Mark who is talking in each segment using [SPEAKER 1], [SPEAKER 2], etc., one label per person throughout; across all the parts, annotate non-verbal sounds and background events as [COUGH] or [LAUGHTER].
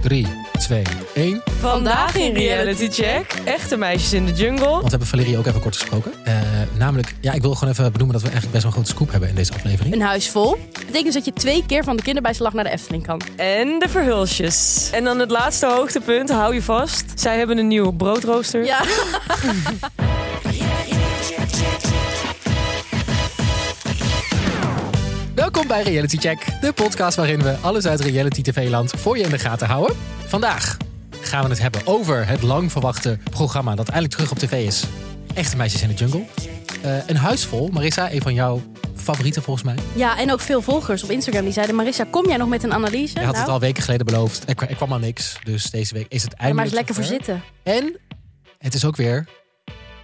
[SPEAKER 1] 3, 2, 1.
[SPEAKER 2] Vandaag in Reality Check. Echte meisjes in de jungle.
[SPEAKER 1] Want we hebben Valerie ook even kort gesproken. Eh, namelijk, ja, ik wil gewoon even benoemen dat we eigenlijk best wel een grote scoop hebben in deze aflevering.
[SPEAKER 3] Een huis vol. Dat betekent dus dat je twee keer van de kinderbijslag naar de Efteling kan.
[SPEAKER 2] En de verhulsjes. En dan het laatste hoogtepunt, hou je vast. Zij hebben een nieuw broodrooster.
[SPEAKER 3] Ja.
[SPEAKER 1] Welkom bij Reality Check, de podcast waarin we alles uit reality TV-land voor je in de gaten houden. Vandaag gaan we het hebben over het lang verwachte programma dat eindelijk terug op tv is. Echte meisjes in de jungle. Eh, een huis vol. Marissa, een van jouw favorieten volgens mij.
[SPEAKER 3] ja, en ook veel volgers op Instagram die zeiden... Marissa, kom jij nog met een analyse?
[SPEAKER 1] Je had het
[SPEAKER 3] Nou,
[SPEAKER 1] al weken geleden beloofd. Er, kwa- er kwam al niks. Dus deze week is het
[SPEAKER 3] ga er maar
[SPEAKER 1] eindelijk.
[SPEAKER 3] eens lekker voor
[SPEAKER 1] zover.
[SPEAKER 3] zitten.
[SPEAKER 1] En het is ook weer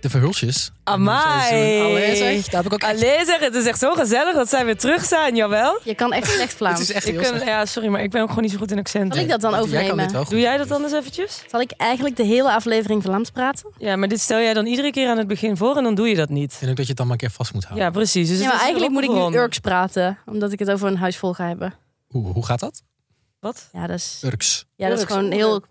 [SPEAKER 1] de verhulsjes.
[SPEAKER 2] Amai.
[SPEAKER 1] Seizoen. Allee, zeg, Daar heb ik ook echt...
[SPEAKER 2] Allee zeg, het is echt zo gezellig dat zij weer terug zijn, jawel.
[SPEAKER 3] Je kan echt
[SPEAKER 1] [LAUGHS]
[SPEAKER 3] slecht
[SPEAKER 1] Het
[SPEAKER 3] Vlaams.
[SPEAKER 1] is echt
[SPEAKER 2] Ik
[SPEAKER 1] heel
[SPEAKER 2] ben,
[SPEAKER 1] slecht.
[SPEAKER 2] ja, sorry, maar ik ben ook gewoon niet zo goed in accenten.
[SPEAKER 3] Zal ik dat dan
[SPEAKER 1] Jij kan dit
[SPEAKER 3] overnemen?
[SPEAKER 1] wel goed.
[SPEAKER 2] Doe jij dat anders eventjes?
[SPEAKER 3] Zal ik eigenlijk de hele aflevering Vlaams praten?
[SPEAKER 2] Ja, maar dit stel jij dan iedere keer aan het begin voor en dan doe je dat niet.
[SPEAKER 1] En ook dat je het dan maar een keer vast moet houden.
[SPEAKER 2] Ja, precies. Dus
[SPEAKER 3] Ja,
[SPEAKER 2] het
[SPEAKER 3] maar
[SPEAKER 2] is
[SPEAKER 3] eigenlijk moet ik nu
[SPEAKER 2] rond.
[SPEAKER 3] Urks praten. Omdat ik het over een huis vol ga hebben.
[SPEAKER 1] Hoe, hoe gaat dat?
[SPEAKER 2] Wat?
[SPEAKER 3] Ja, dat is,
[SPEAKER 1] Urks.
[SPEAKER 3] ja, dat is
[SPEAKER 2] Urks,
[SPEAKER 3] gewoon een heel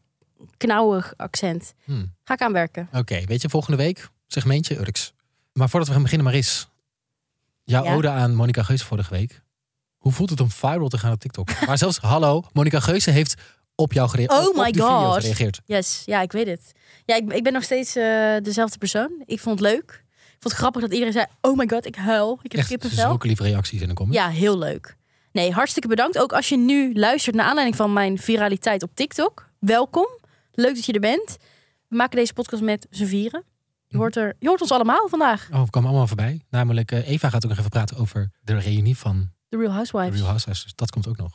[SPEAKER 3] knauwig accent.
[SPEAKER 1] Hmm.
[SPEAKER 3] Ga ik aan werken.
[SPEAKER 1] Oké, weet je, volgende week segmentje Urks. Maar voordat we gaan beginnen, Maris. Jouw
[SPEAKER 3] Ja?
[SPEAKER 1] ode aan Monica Geuze vorige week. Hoe voelt het om viral te gaan op TikTok? [LAUGHS] maar zelfs, hallo, Monica Geuze heeft op jou gereageerd.
[SPEAKER 3] Oh
[SPEAKER 1] op
[SPEAKER 3] my
[SPEAKER 1] die video
[SPEAKER 3] God.
[SPEAKER 1] gereageerd.
[SPEAKER 3] Yes, ja, ik weet het. Ja, ik, ik ben nog steeds eh, dezelfde persoon. Ik vond het leuk. Ik vond het grappig dat iedereen zei... Oh my god, ik huil. Ik heb
[SPEAKER 1] Echt
[SPEAKER 3] kippenvel.
[SPEAKER 1] zulke lieve reacties in de comments.
[SPEAKER 3] Ja, heel leuk. Nee, hartstikke bedankt. Ook als je nu luistert naar aanleiding van mijn viraliteit op TikTok. Welkom. Leuk dat je er bent. We maken deze podcast met z'n vieren.
[SPEAKER 1] Hm.
[SPEAKER 3] Je hoort, er, je hoort ons allemaal vandaag.
[SPEAKER 1] Oh, we kwamen allemaal voorbij. Namelijk, eh, Eva gaat ook nog even praten over de reunie van
[SPEAKER 3] The Real
[SPEAKER 1] The
[SPEAKER 3] Housewives.
[SPEAKER 1] Real Housewives. Dus dat komt ook nog.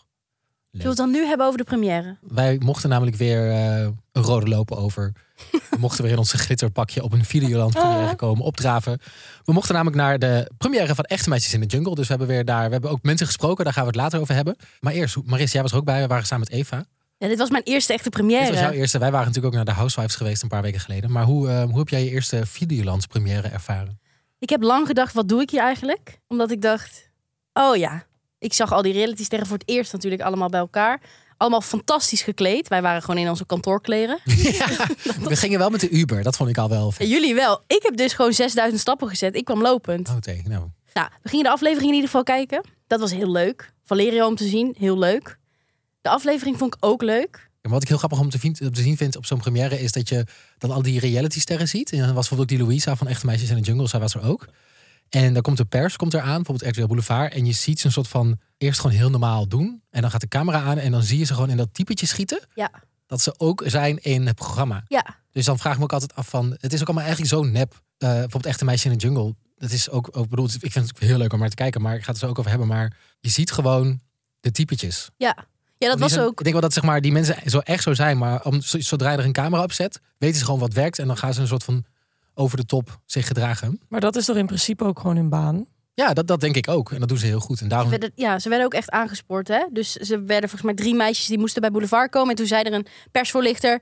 [SPEAKER 3] Zullen we het dan nu hebben over de première?
[SPEAKER 1] Wij mochten namelijk weer eh, een rode lopen over. We mochten weer in ons glitterpakje op een Videoland première komen, opdraven. We mochten namelijk naar de première van Echte Meisjes in de Jungle. Dus we hebben weer daar, we hebben ook mensen gesproken, daar gaan we het later over hebben. Maar eerst, hoe- Maris, jij was er ook bij, we waren samen met Eva.
[SPEAKER 3] Ja, dit was mijn eerste echte
[SPEAKER 1] Dit was jouw
[SPEAKER 3] première.
[SPEAKER 1] eerste, wij waren natuurlijk ook naar de Housewives geweest een paar weken geleden. Maar hoe, eh, hoe heb jij je eerste Videoland première ervaren? [LAUGHS]
[SPEAKER 3] Ik heb lang gedacht, wat doe ik hier eigenlijk? Omdat ik dacht, oh ja, ik zag al die realities tegen voor het eerst natuurlijk allemaal bij elkaar. Allemaal fantastisch gekleed. Wij waren gewoon in onze
[SPEAKER 1] [LAUGHS]
[SPEAKER 3] kantoorkleren.
[SPEAKER 1] Ja, we gingen wel met de Uber, dat vond ik al wel.
[SPEAKER 3] En jullie wel. Ik heb dus gewoon 6000 stappen gezet. Ik kwam lopend.
[SPEAKER 1] Oh, tegen, nou.
[SPEAKER 3] Nou, we gingen de aflevering in ieder geval kijken. Dat was heel leuk. Valerio om te zien, heel leuk. De aflevering vond ik ook leuk.
[SPEAKER 1] En wat ik heel grappig om te, vind- om te zien vind op zo'n première is dat je dan al die reality sterren ziet. En dan was bijvoorbeeld ook die Louisa van Echte Meisjes in de Jungle, zij was er ook. En dan komt de pers komt eraan, bijvoorbeeld RTL Boulevard. En je ziet ze een soort van eerst gewoon heel normaal doen. En dan gaat de camera aan en dan zie je ze gewoon in dat typetje schieten.
[SPEAKER 3] Ja.
[SPEAKER 1] Dat ze ook zijn in het programma.
[SPEAKER 3] Ja,
[SPEAKER 1] Dus dan vraag ik me ook altijd af van, het is ook allemaal eigenlijk zo nep. Eh, bijvoorbeeld Echte Meisjes in de Jungle. Dat is ook, ook bedoeld, ik vind het heel leuk om naar te kijken, maar ik ga het er zo ook over hebben. Maar je ziet gewoon de typetjes.
[SPEAKER 3] ja. Ja, dat
[SPEAKER 1] Die
[SPEAKER 3] was
[SPEAKER 1] zijn-
[SPEAKER 3] ook.
[SPEAKER 1] Ik denk wel dat zeg maar, die mensen zo echt zo zijn, maar om, zo- zodra je er een camera op zet, weten ze gewoon wat werkt en dan gaan ze een soort van over de top zich gedragen.
[SPEAKER 2] Maar dat is toch in principe ook gewoon hun baan?
[SPEAKER 1] Ja, dat, dat denk ik ook. En dat doen ze heel goed. En daarom.
[SPEAKER 3] werden- ja, ze werden ook echt aangespoord. Hè? Dus ze werden volgens mij drie meisjes die moesten bij Boulevard komen. En toen zei er een persvoorlichter.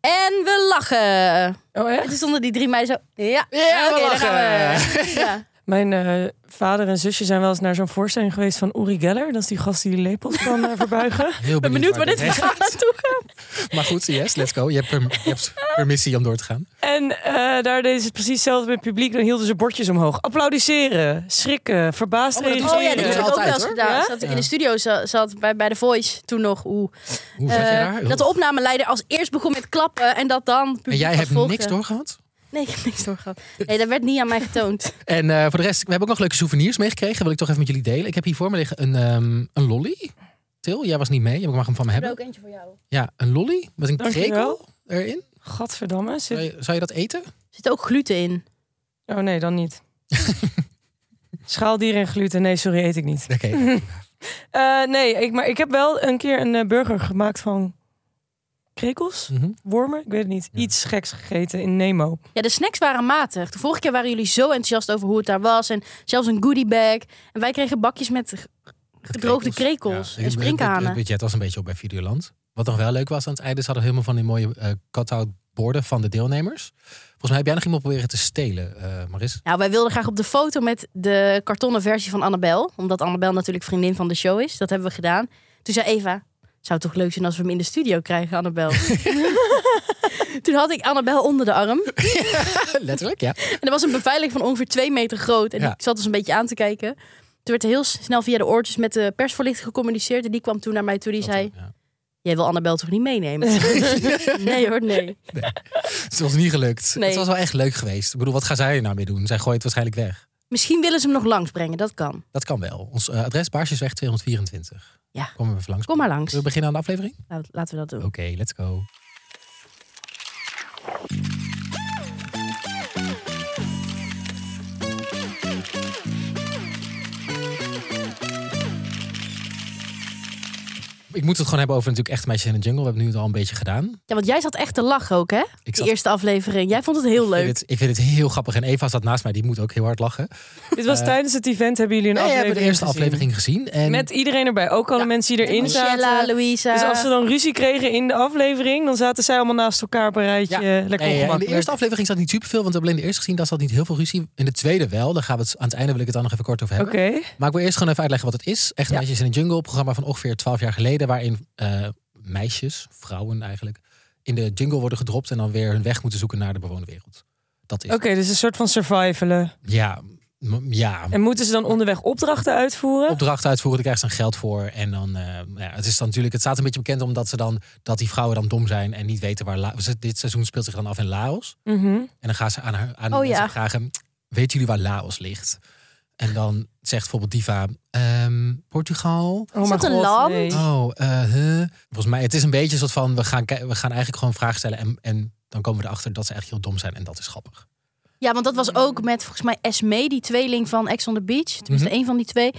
[SPEAKER 3] En we lachen.
[SPEAKER 2] Oh echt?
[SPEAKER 3] En toen stonden die drie meiden zo. Ja,
[SPEAKER 1] Ja, we
[SPEAKER 3] oké, daar
[SPEAKER 1] lachen."
[SPEAKER 3] gaan we. Ja.
[SPEAKER 2] Mijn eh, vader en zusje zijn wel eens naar zo'n voorstelling geweest van Uri Geller. Dat is die gast die die lepels kan eh, verbuigen.
[SPEAKER 1] Heel benieuwd,
[SPEAKER 3] ben benieuwd waar dit
[SPEAKER 1] heen
[SPEAKER 3] verhaal naartoe gaat.
[SPEAKER 1] gaat. Maar goed, yes, let's go. Je hebt, perm- je
[SPEAKER 3] [LAUGHS]
[SPEAKER 1] hebt permissie om door te gaan.
[SPEAKER 2] En eh, daar deden ze het precies hetzelfde met het publiek. Dan hielden ze bordjes omhoog. Applaudisseren, schrikken, verbaasd
[SPEAKER 1] Oh, maar dat
[SPEAKER 3] Oh ja,
[SPEAKER 1] doen
[SPEAKER 3] dat
[SPEAKER 1] ze
[SPEAKER 3] heb ik ook
[SPEAKER 1] altijd,
[SPEAKER 3] wel eens
[SPEAKER 1] hoor.
[SPEAKER 3] gedaan.
[SPEAKER 2] Ja?
[SPEAKER 3] Zat ik in
[SPEAKER 1] Ja.
[SPEAKER 3] de studio za- zat bij, bij de Voice toen nog. Oeh.
[SPEAKER 1] Hoe zat je
[SPEAKER 3] Eh,
[SPEAKER 1] daar?
[SPEAKER 3] dat de opnameleider als eerst begon met klappen en dat dan. publiek
[SPEAKER 1] en jij
[SPEAKER 3] wat
[SPEAKER 1] hebt
[SPEAKER 3] volgde.
[SPEAKER 1] niks doorgehad.
[SPEAKER 3] Nee, ik heb niks doorgehad. Nee, dat werd niet aan mij [LAUGHS] getoond.
[SPEAKER 1] En eh, voor de rest, we hebben ook nog leuke souvenirs meegekregen. Wil ik toch even met jullie delen. Ik heb hier voor me liggen een, ehm, een lolly. Til, jij was niet mee. Je mag hem van me hebben.
[SPEAKER 3] eentje voor jou.
[SPEAKER 1] Ja, een lolly met een krekel
[SPEAKER 2] Dankjewel.
[SPEAKER 1] erin.
[SPEAKER 2] Gadverdamme. Zit...
[SPEAKER 1] Zou je, zou je dat eten?
[SPEAKER 3] Er zit ook gluten in.
[SPEAKER 2] Oh nee, dan
[SPEAKER 1] [LAUGHS]
[SPEAKER 2] niet. Schaaldieren en gluten. Nee, sorry, eet ik niet.
[SPEAKER 1] Oké.
[SPEAKER 2] Eh, nee, ik, maar ik heb wel een keer een eh, burger gemaakt van krekels,
[SPEAKER 1] Mhm.
[SPEAKER 2] wormen, ik weet het niet.
[SPEAKER 1] Ja.
[SPEAKER 2] Iets geks gegeten in Nemo.
[SPEAKER 3] Ja, de snacks waren matig. De vorige keer waren jullie zo enthousiast over hoe het daar was. En zelfs een goodie bag. En wij kregen bakjes met g- gedroogde krekels
[SPEAKER 1] Ja,
[SPEAKER 3] en
[SPEAKER 1] het- Het, het
[SPEAKER 3] sprinkhanen.
[SPEAKER 1] budget was een beetje op bij Videoland. Wat nog wel leuk was aan het einde, ze hadden helemaal van die mooie eh cut-out borden van de deelnemers. Volgens mij heb jij nog iemand proberen te stelen, eh,
[SPEAKER 3] [LAUGHS]
[SPEAKER 1] Maris.
[SPEAKER 3] Nou, wij wilden graag op de foto met de kartonnen versie van Annabel. Omdat Annabel natuurlijk vriendin van de show is. Dat hebben we gedaan. Toen zei Eva, Zou toch leuk zijn als we hem in de studio krijgen,
[SPEAKER 1] [LAUGHS]
[SPEAKER 3] Annabel? [LAUGHS] Toen had ik Annabel onder de arm.
[SPEAKER 1] Letterlijk, ja.
[SPEAKER 3] En er was een beveiliger van ongeveer twee meter groot. En
[SPEAKER 1] Ja.
[SPEAKER 3] ik zat dus een beetje aan te kijken. Toen werd er heel snel via de oortjes met de persvoorlichter gecommuniceerd. En die kwam toen naar mij toe. Die zei,
[SPEAKER 1] eh, Ja.
[SPEAKER 3] jij wil Annabel toch niet
[SPEAKER 1] [LAUGHS]
[SPEAKER 3] meenemen? nee hoor, nee.
[SPEAKER 1] Het was niet gelukt.
[SPEAKER 3] Nee.
[SPEAKER 1] Het was wel echt leuk geweest. Ik bedoel, wat gaan zij er nou mee doen? Zij gooit het waarschijnlijk weg.
[SPEAKER 3] Misschien willen ze hem nog langs dat kan.
[SPEAKER 1] Dat kan wel. Ons eh, adres Baarsjesweg 224.
[SPEAKER 3] Ja.
[SPEAKER 1] Kom even langs.
[SPEAKER 3] Kom maar langs.
[SPEAKER 1] Zullen we beginnen aan de aflevering?
[SPEAKER 3] Nou, laten we dat doen.
[SPEAKER 1] Oké, let's go. Ik moet het gewoon hebben over natuurlijk echt meisjes in de jungle. We hebben nu het al een beetje gedaan.
[SPEAKER 3] Ja, want jij zat echt te lachen ook, hè?
[SPEAKER 1] Ik
[SPEAKER 3] De
[SPEAKER 1] zat-
[SPEAKER 3] eerste aflevering. Jij vond het heel
[SPEAKER 1] Ik
[SPEAKER 3] leuk.
[SPEAKER 1] vind, het, ik vind het heel grappig. En Eva zat naast mij, die moet ook heel hard lachen.
[SPEAKER 2] Dit was
[SPEAKER 1] Eh,
[SPEAKER 2] tijdens het event, hebben jullie een
[SPEAKER 1] Wij hebben
[SPEAKER 2] aflevering
[SPEAKER 1] de eerste
[SPEAKER 2] gezien.
[SPEAKER 1] aflevering gezien. En
[SPEAKER 2] Met iedereen erbij, ook alle mensen die erin
[SPEAKER 1] eh,
[SPEAKER 3] Michella,
[SPEAKER 2] zaten.
[SPEAKER 3] Louisa.
[SPEAKER 2] Dus als ze dan ruzie kregen in de aflevering, dan zaten zij allemaal naast elkaar op een
[SPEAKER 1] Ja.
[SPEAKER 2] rijtje. Lekker
[SPEAKER 1] Nee, in de
[SPEAKER 2] ongemakkelijk.
[SPEAKER 1] eerste aflevering zat niet superveel, want we hebben alleen de eerste gezien. Daar zat niet heel veel ruzie. In de tweede wel. Daar gaan we het, aan het einde wil ik het dan nog even kort over
[SPEAKER 2] Oké.
[SPEAKER 1] hebben. Maar ik wil eerst gewoon even uitleggen wat het is. Echt Meisjes in de Jungle, programma van ongeveer 12 jaar geleden, waarin eh, meisjes, vrouwen eigenlijk, in de jungle worden gedropt en dan weer hun weg moeten zoeken naar de bewoonde wereld. Dat is.
[SPEAKER 2] Oké, dus een soort van survivalen.
[SPEAKER 1] Ja, m- ja.
[SPEAKER 2] En moeten ze dan onderweg opdrachten uitvoeren?
[SPEAKER 1] Opdrachten uitvoeren, daar krijgen ze dan geld voor. En dan, eh, nou ja, het is dan natuurlijk, het staat een beetje bekend omdat ze dan, dat die vrouwen dan dom zijn en niet weten waar. La- ze- dit seizoen speelt zich dan af in Laos.
[SPEAKER 2] Mhm.
[SPEAKER 1] En dan gaan ze aan, haar, aan de
[SPEAKER 3] Oh,
[SPEAKER 1] mensen
[SPEAKER 3] ja.
[SPEAKER 1] vragen: Weet jullie waar Laos ligt? En dan zegt bijvoorbeeld Diva: ehm, Portugal.
[SPEAKER 2] Oh
[SPEAKER 3] Is
[SPEAKER 2] mijn
[SPEAKER 3] dat een
[SPEAKER 2] god,
[SPEAKER 3] land?
[SPEAKER 2] nee.
[SPEAKER 1] Oh, eh, huh. volgens mij, het is een beetje een soort van: we gaan, ki- we gaan eigenlijk gewoon vragen stellen. En, en dan komen we erachter dat ze echt heel dom zijn. En dat is grappig.
[SPEAKER 3] Ja, want dat was
[SPEAKER 1] Mm.
[SPEAKER 3] ook met volgens mij Esme, die tweeling van Ex on the Beach. Tenminste,
[SPEAKER 1] Mhm.
[SPEAKER 3] één van die twee.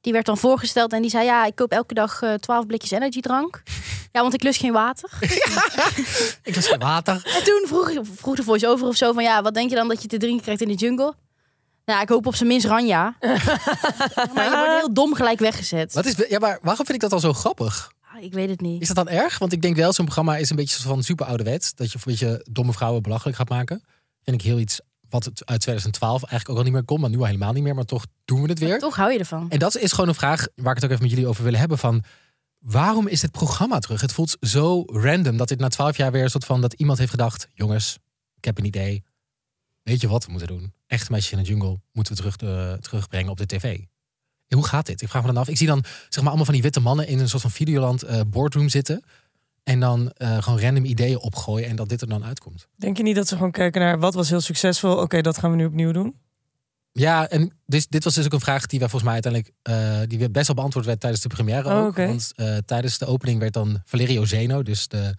[SPEAKER 3] Die werd dan voorgesteld en die zei... Ja, ik koop elke dag eh, 12 blikjes
[SPEAKER 1] [LAUGHS]
[SPEAKER 3] energiedrank. Ja, want ik lust geen water.
[SPEAKER 1] Ik was geen water.
[SPEAKER 3] En toen vroeg, vroeg de voice-over of zo van... Ja, wat denk je dan dat je te drinken krijgt in de jungle? Nou, ik hoop op zijn
[SPEAKER 1] [LAUGHS]
[SPEAKER 3] minst Ranja. maar je wordt heel dom gelijk weggezet.
[SPEAKER 1] [LAUGHS] Wat is, ja, maar waarom vind ik dat dan zo grappig?
[SPEAKER 3] Ah, Ik weet het
[SPEAKER 1] Is
[SPEAKER 3] niet.
[SPEAKER 1] dat dan erg? Want ik denk wel, zo'n programma is een beetje soort van super ouderwets. Dat je een beetje domme vrouwen belachelijk gaat maken. Vind ik heel iets wat het uit 2012 eigenlijk ook al niet meer komt. Maar nu al helemaal niet meer. Maar toch doen we het weer.
[SPEAKER 3] Toch hou je ervan.
[SPEAKER 1] En dat is gewoon een vraag waar ik het ook even met jullie over wil hebben. Van waarom is dit programma terug? Het voelt zo random dat dit na twaalf jaar weer een soort van dat iemand heeft gedacht: jongens, ik heb een idee. Weet je wat we moeten doen? Echt meisjes in de jungle moeten we terug, eh, terugbrengen op de tv. En Hoe gaat dit? Ik vraag me dan af. Ik zie dan zeg maar allemaal van die witte mannen in een soort van videoland eh, boardroom zitten. En dan eh, gewoon random ideeën opgooien en dat dit er dan uitkomt.
[SPEAKER 2] Denk je niet dat ze gewoon kijken naar wat was heel succesvol? Oké, dat gaan we nu opnieuw doen.
[SPEAKER 1] Ja, en dus, dit was dus ook een vraag die wij volgens mij uiteindelijk eh, die weer best wel beantwoord werd tijdens de première.
[SPEAKER 2] Oh,
[SPEAKER 1] ook.
[SPEAKER 2] oké.
[SPEAKER 1] Want eh, tijdens de opening werd dan Valerio Zeno, dus de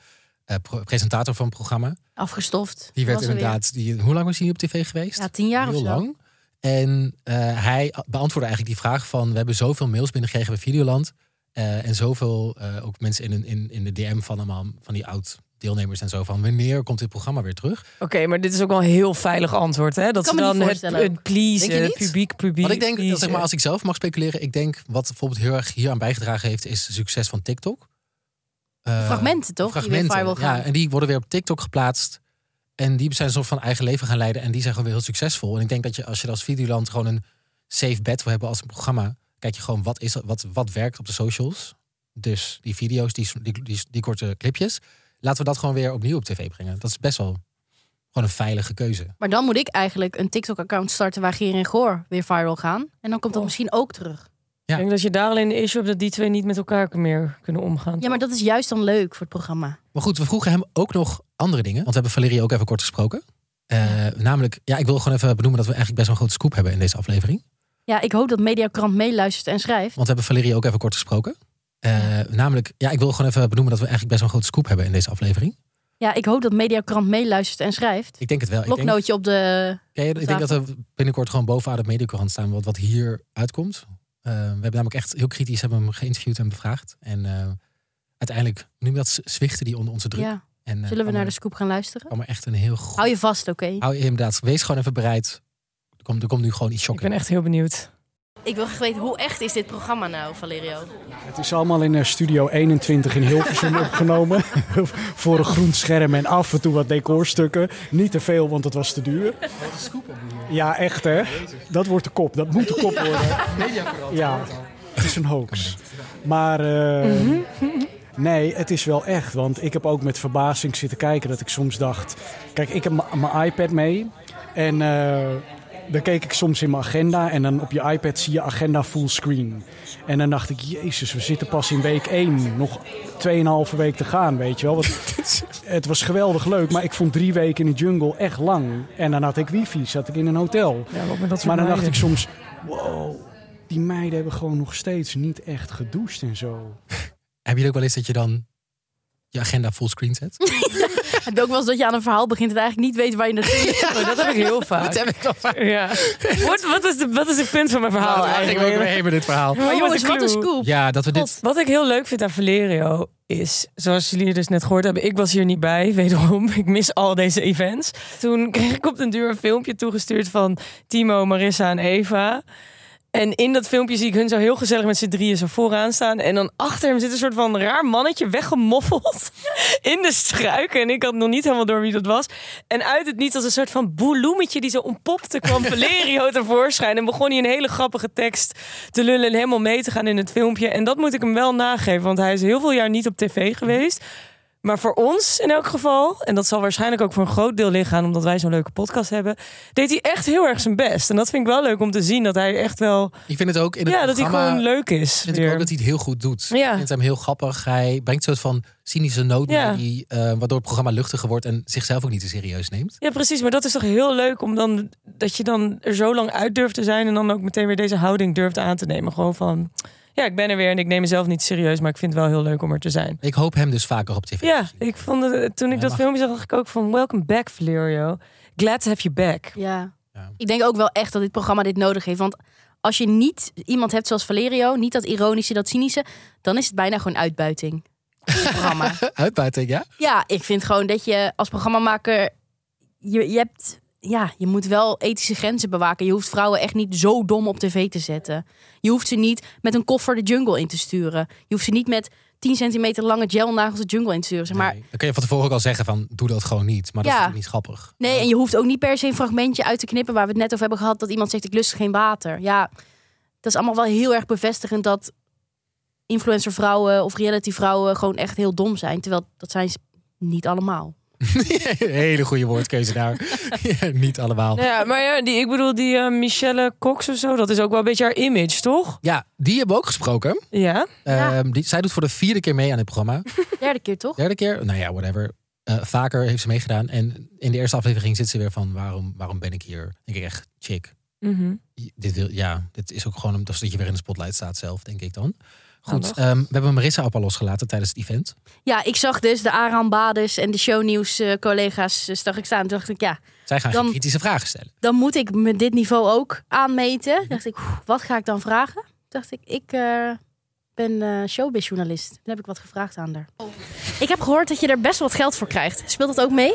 [SPEAKER 1] eh, pro- presentator van het programma,
[SPEAKER 3] Afgestoft.
[SPEAKER 1] die werd
[SPEAKER 3] Was er weer.
[SPEAKER 1] inderdaad, die, hoe lang was hij op tv geweest?
[SPEAKER 3] Ja, tien jaar
[SPEAKER 1] Heel
[SPEAKER 3] of zo.
[SPEAKER 1] lang. En eh, hij beantwoordde eigenlijk die vraag van... we hebben zoveel mails binnengekregen bij Videoland... eh, en zoveel eh, ook mensen in, een- in, in de DM van allemaal... van die oud-deelnemers en zo... van wanneer komt dit programma weer terug?
[SPEAKER 2] Oké, maar dit is ook wel een heel veilig antwoord, hè? Dat
[SPEAKER 3] Kan
[SPEAKER 2] ze
[SPEAKER 3] me niet
[SPEAKER 2] dan het,
[SPEAKER 3] voorstellen.
[SPEAKER 2] het pleasen,
[SPEAKER 1] Denk je niet?
[SPEAKER 2] publiek, publiek.
[SPEAKER 1] Want ik denk, dat, zeg
[SPEAKER 2] pleasen.
[SPEAKER 1] maar, als ik zelf mag speculeren, ik denk wat bijvoorbeeld heel erg hier aan bijgedragen heeft, is het succes van TikTok. Eh,
[SPEAKER 3] Fragmenten, toch? Die weer
[SPEAKER 1] Fragmenten.
[SPEAKER 3] viral gaan.
[SPEAKER 1] ja, en die worden weer op TikTok geplaatst. En die zijn een soort van eigen leven gaan leiden. En die zijn gewoon weer heel succesvol. En ik denk dat je als je als Videoland gewoon een safe bet wil hebben als een programma, kijk je gewoon wat, is, er- wat, wat werkt op de socials. Dus die video's, die, die, die, die korte clipjes. Laten we dat gewoon weer opnieuw op tv brengen. Dat is best wel gewoon een veilige keuze.
[SPEAKER 3] Maar dan moet ik eigenlijk een TikTok-account starten waar Geer en Goor weer viral gaan. En dan komt dat
[SPEAKER 2] Oh.
[SPEAKER 3] misschien ook terug.
[SPEAKER 1] ja.
[SPEAKER 2] Ik denk dat je daar alleen de issue hebt dat die twee niet met elkaar meer kunnen omgaan.
[SPEAKER 3] Ja, maar dat is juist dan leuk voor het programma.
[SPEAKER 1] Maar goed, we vroegen hem ook nog andere dingen. Want we hebben Valerie ook even kort gesproken. Eh, Namelijk, ja, ik wil gewoon even benoemen dat we eigenlijk best wel een grote scoop hebben in deze aflevering.
[SPEAKER 3] Ja, ik hoop dat Mediakrant meeluistert en schrijft.
[SPEAKER 1] Want we hebben Valerie ook even kort gesproken. Eh, Namelijk, ja, ik wil gewoon even benoemen dat we eigenlijk best wel een grote scoop hebben in deze aflevering.
[SPEAKER 3] Ja, ik hoop dat Mediakrant meeluistert en schrijft.
[SPEAKER 1] Ik denk het wel. Ik denk,
[SPEAKER 3] Bloknootje op de...
[SPEAKER 1] Ken je dat? ik denk dat we binnenkort gewoon bovenaan het mediacorant staan wat, wat hier uitkomt. Eh, we hebben namelijk echt heel kritisch hebben we hem geïnterviewd en bevraagd. En eh, uiteindelijk, hoe noem je dat, zwichten die onder onze druk.
[SPEAKER 3] Ja,
[SPEAKER 1] en, eh,
[SPEAKER 3] zullen we naar de scoop gaan luisteren?
[SPEAKER 1] Kwam er echt een heel goed...
[SPEAKER 3] Hou je vast, oké.
[SPEAKER 1] Hou je inderdaad, wees gewoon even bereid. Er komt, er komt nu gewoon iets
[SPEAKER 2] Ik ben
[SPEAKER 1] shocking.
[SPEAKER 2] echt heel benieuwd.
[SPEAKER 3] Ik wil graag weten, hoe echt is dit programma nou, [LAUGHS] Valerio?
[SPEAKER 4] Het is allemaal in eh, Studio 21 in Hilversum [LAUGHS] opgenomen. Voor een groen scherm en af en toe wat decorstukken. Niet te veel, want het was te duur. Wat een scoop eh, Ja, echt hè. Dat wordt de kop. Dat moet de kop worden. Ja, het is een hoax. Maar eh, Nee, het is wel echt. Want ik heb ook met verbazing zitten kijken dat ik soms dacht... Kijk, ik heb m- mijn iPad mee. En eh, dan keek ik soms in mijn agenda. En dan op je iPad zie je agenda fullscreen. En dan dacht ik, jezus, we zitten pas in week 1. Nog 2,5 week te gaan, weet je wel. Want
[SPEAKER 2] [LAUGHS]
[SPEAKER 4] het was geweldig leuk, maar ik vond drie weken in de jungle echt lang. En dan had ik wifi, zat ik in een hotel.
[SPEAKER 2] Ja, wat met dat soort
[SPEAKER 4] Maar dan dacht
[SPEAKER 2] meiden.
[SPEAKER 4] ik soms, wow, die meiden hebben gewoon nog steeds niet echt gedoucht en zo.
[SPEAKER 1] Hebben jullie ook wel eens dat je dan je agenda fullscreen zet?
[SPEAKER 3] Heb je ook wel eens dat je aan een verhaal begint en eigenlijk niet weet waar je naartoe gaat?
[SPEAKER 2] Oh, dat heb ik heel vaak.
[SPEAKER 1] heb ik al [LAUGHS] vaak.
[SPEAKER 2] Ja. Wat, wat, is de, wat is het punt van mijn verhaal
[SPEAKER 1] Daar ging ik Nou, ook
[SPEAKER 2] eigenlijk?
[SPEAKER 1] mee met dit verhaal.
[SPEAKER 2] Wat
[SPEAKER 3] [LAUGHS] Maar
[SPEAKER 2] was
[SPEAKER 3] jongens,
[SPEAKER 2] de
[SPEAKER 3] wat een
[SPEAKER 2] clue?
[SPEAKER 3] scoop.
[SPEAKER 1] Ja, dat we dit...
[SPEAKER 3] God.
[SPEAKER 2] Wat ik heel leuk vind aan Valerio is, zoals jullie dus net gehoord hebben, ik was hier niet bij, [LAUGHS] wederom. Ik mis al deze events. Toen kreeg ik op den duur een filmpje toegestuurd van Timo, Marissa en Eva. En in dat filmpje zie ik hun zo heel gezellig met z'n drieën zo vooraan staan. En dan achter hem zit een soort van raar mannetje weggemoffeld in de struiken. En ik had nog niet helemaal door wie dat was. En uit het niets als een soort van boeloemetje die zo ontpopte kwam
[SPEAKER 1] [LAUGHS]
[SPEAKER 2] Valerio tevoorschijn. En begon hij een hele grappige tekst te lullen en helemaal mee te gaan in het filmpje. En dat moet ik hem wel nageven, want hij is heel veel jaar niet op tv geweest. Maar voor ons in elk geval, en dat zal waarschijnlijk ook voor een groot deel liggen aan omdat wij zo'n leuke podcast hebben, deed hij echt heel erg zijn best. En dat vind ik wel leuk om te zien dat hij echt wel
[SPEAKER 1] Ik vind het ook in het
[SPEAKER 2] ja, dat hij
[SPEAKER 1] programma...
[SPEAKER 2] gewoon leuk is.
[SPEAKER 1] vind ik
[SPEAKER 2] weer.
[SPEAKER 1] ook dat hij het heel goed doet.
[SPEAKER 2] Ja.
[SPEAKER 1] Ik vind hem heel grappig. Hij brengt een soort van cynische nood
[SPEAKER 2] Ja.
[SPEAKER 1] mee, die, eh, waardoor het programma luchtiger wordt en zichzelf ook niet te serieus neemt.
[SPEAKER 2] Ja, precies. Maar dat is toch heel leuk om dan dat je dan er zo lang uit durft te zijn en dan ook meteen weer deze houding durft aan te nemen. Gewoon van ja, ik ben er weer en ik neem mezelf niet serieus, maar ik vind het wel heel leuk om er te zijn.
[SPEAKER 1] Ik hoop hem dus vaker op tv.
[SPEAKER 2] Ja, ik vond het, toen ik
[SPEAKER 1] Ja,
[SPEAKER 2] dat
[SPEAKER 1] mag.
[SPEAKER 2] filmpje zag, dacht ik ook van welcome back Valerio. Glad to have you back.
[SPEAKER 3] Ja.
[SPEAKER 1] Ja.
[SPEAKER 3] Ik denk ook wel echt dat dit programma dit nodig heeft. Want als je niet iemand hebt zoals Valerio, niet dat ironische, dat cynische, dan is het bijna gewoon uitbuiting. Dit programma.
[SPEAKER 1] Uitbuiting, ja?
[SPEAKER 3] Ja, ik vind gewoon dat je als programmamaker. Je, je, hebt, ja, je moet wel ethische grenzen bewaken. Je hoeft vrouwen echt niet zo dom op tv te zetten. Je hoeft ze niet met een koffer de jungle in te sturen. Je hoeft ze niet met 10 centimeter lange gelnagels de jungle in te sturen. Zeg maar
[SPEAKER 1] Nee. Dan kun je van tevoren ook al zeggen van, doe dat gewoon niet. Maar dat
[SPEAKER 3] Ja.
[SPEAKER 1] is natuurlijk niet grappig. [LAUGHS]
[SPEAKER 3] Nee, en je hoeft ook niet per se een fragmentje uit te knippen waar we het net over hebben gehad dat iemand zegt ik lust geen water. Ja, dat is allemaal wel heel erg bevestigend dat influencer vrouwen of reality vrouwen gewoon echt heel dom zijn, terwijl dat zijn ze niet allemaal.
[SPEAKER 1] Hele goede woordkeuze daar. [LAUGHS] Ja, niet allemaal.
[SPEAKER 2] Ja, maar ja, die, ik bedoel die eh, Michelle Cox of zo, dat is ook wel een beetje haar image, toch?
[SPEAKER 1] Ja, die hebben we ook gesproken.
[SPEAKER 2] Ja.
[SPEAKER 3] Ja.
[SPEAKER 1] Ehm, die, zij doet voor de vierde keer mee aan dit programma.
[SPEAKER 3] Derde keer toch?
[SPEAKER 1] Derde keer, nou ja, whatever. Eh, vaker heeft ze meegedaan. En in de eerste aflevering zit ze weer van, waarom, waarom ben ik hier? Ik denk echt, chick.
[SPEAKER 2] Mhm.
[SPEAKER 1] Dit wil, ja, dit is ook gewoon omdat dat je weer in de spotlight staat zelf, denk ik
[SPEAKER 3] Nou,
[SPEAKER 1] dan. Goed,
[SPEAKER 2] Handig.
[SPEAKER 1] ehm, we hebben Marissa ook al losgelaten tijdens het event.
[SPEAKER 3] Ja, ik zag dus de Aram Bades en de shownieuws eh, collega's eh, zag ik staan. Toen dacht ik ja,
[SPEAKER 1] Zij gaan
[SPEAKER 3] Dan-
[SPEAKER 1] geen kritische vragen stellen.
[SPEAKER 3] dan moet ik me dit niveau ook aanmeten. Toen dacht ik, oeh, wat ga ik dan vragen? Toen dacht ik, ik eh, ben eh showbizjournalist. Dan heb ik wat gevraagd aan haar. Ik heb gehoord dat je er best wat geld voor krijgt. Speelt dat ook mee?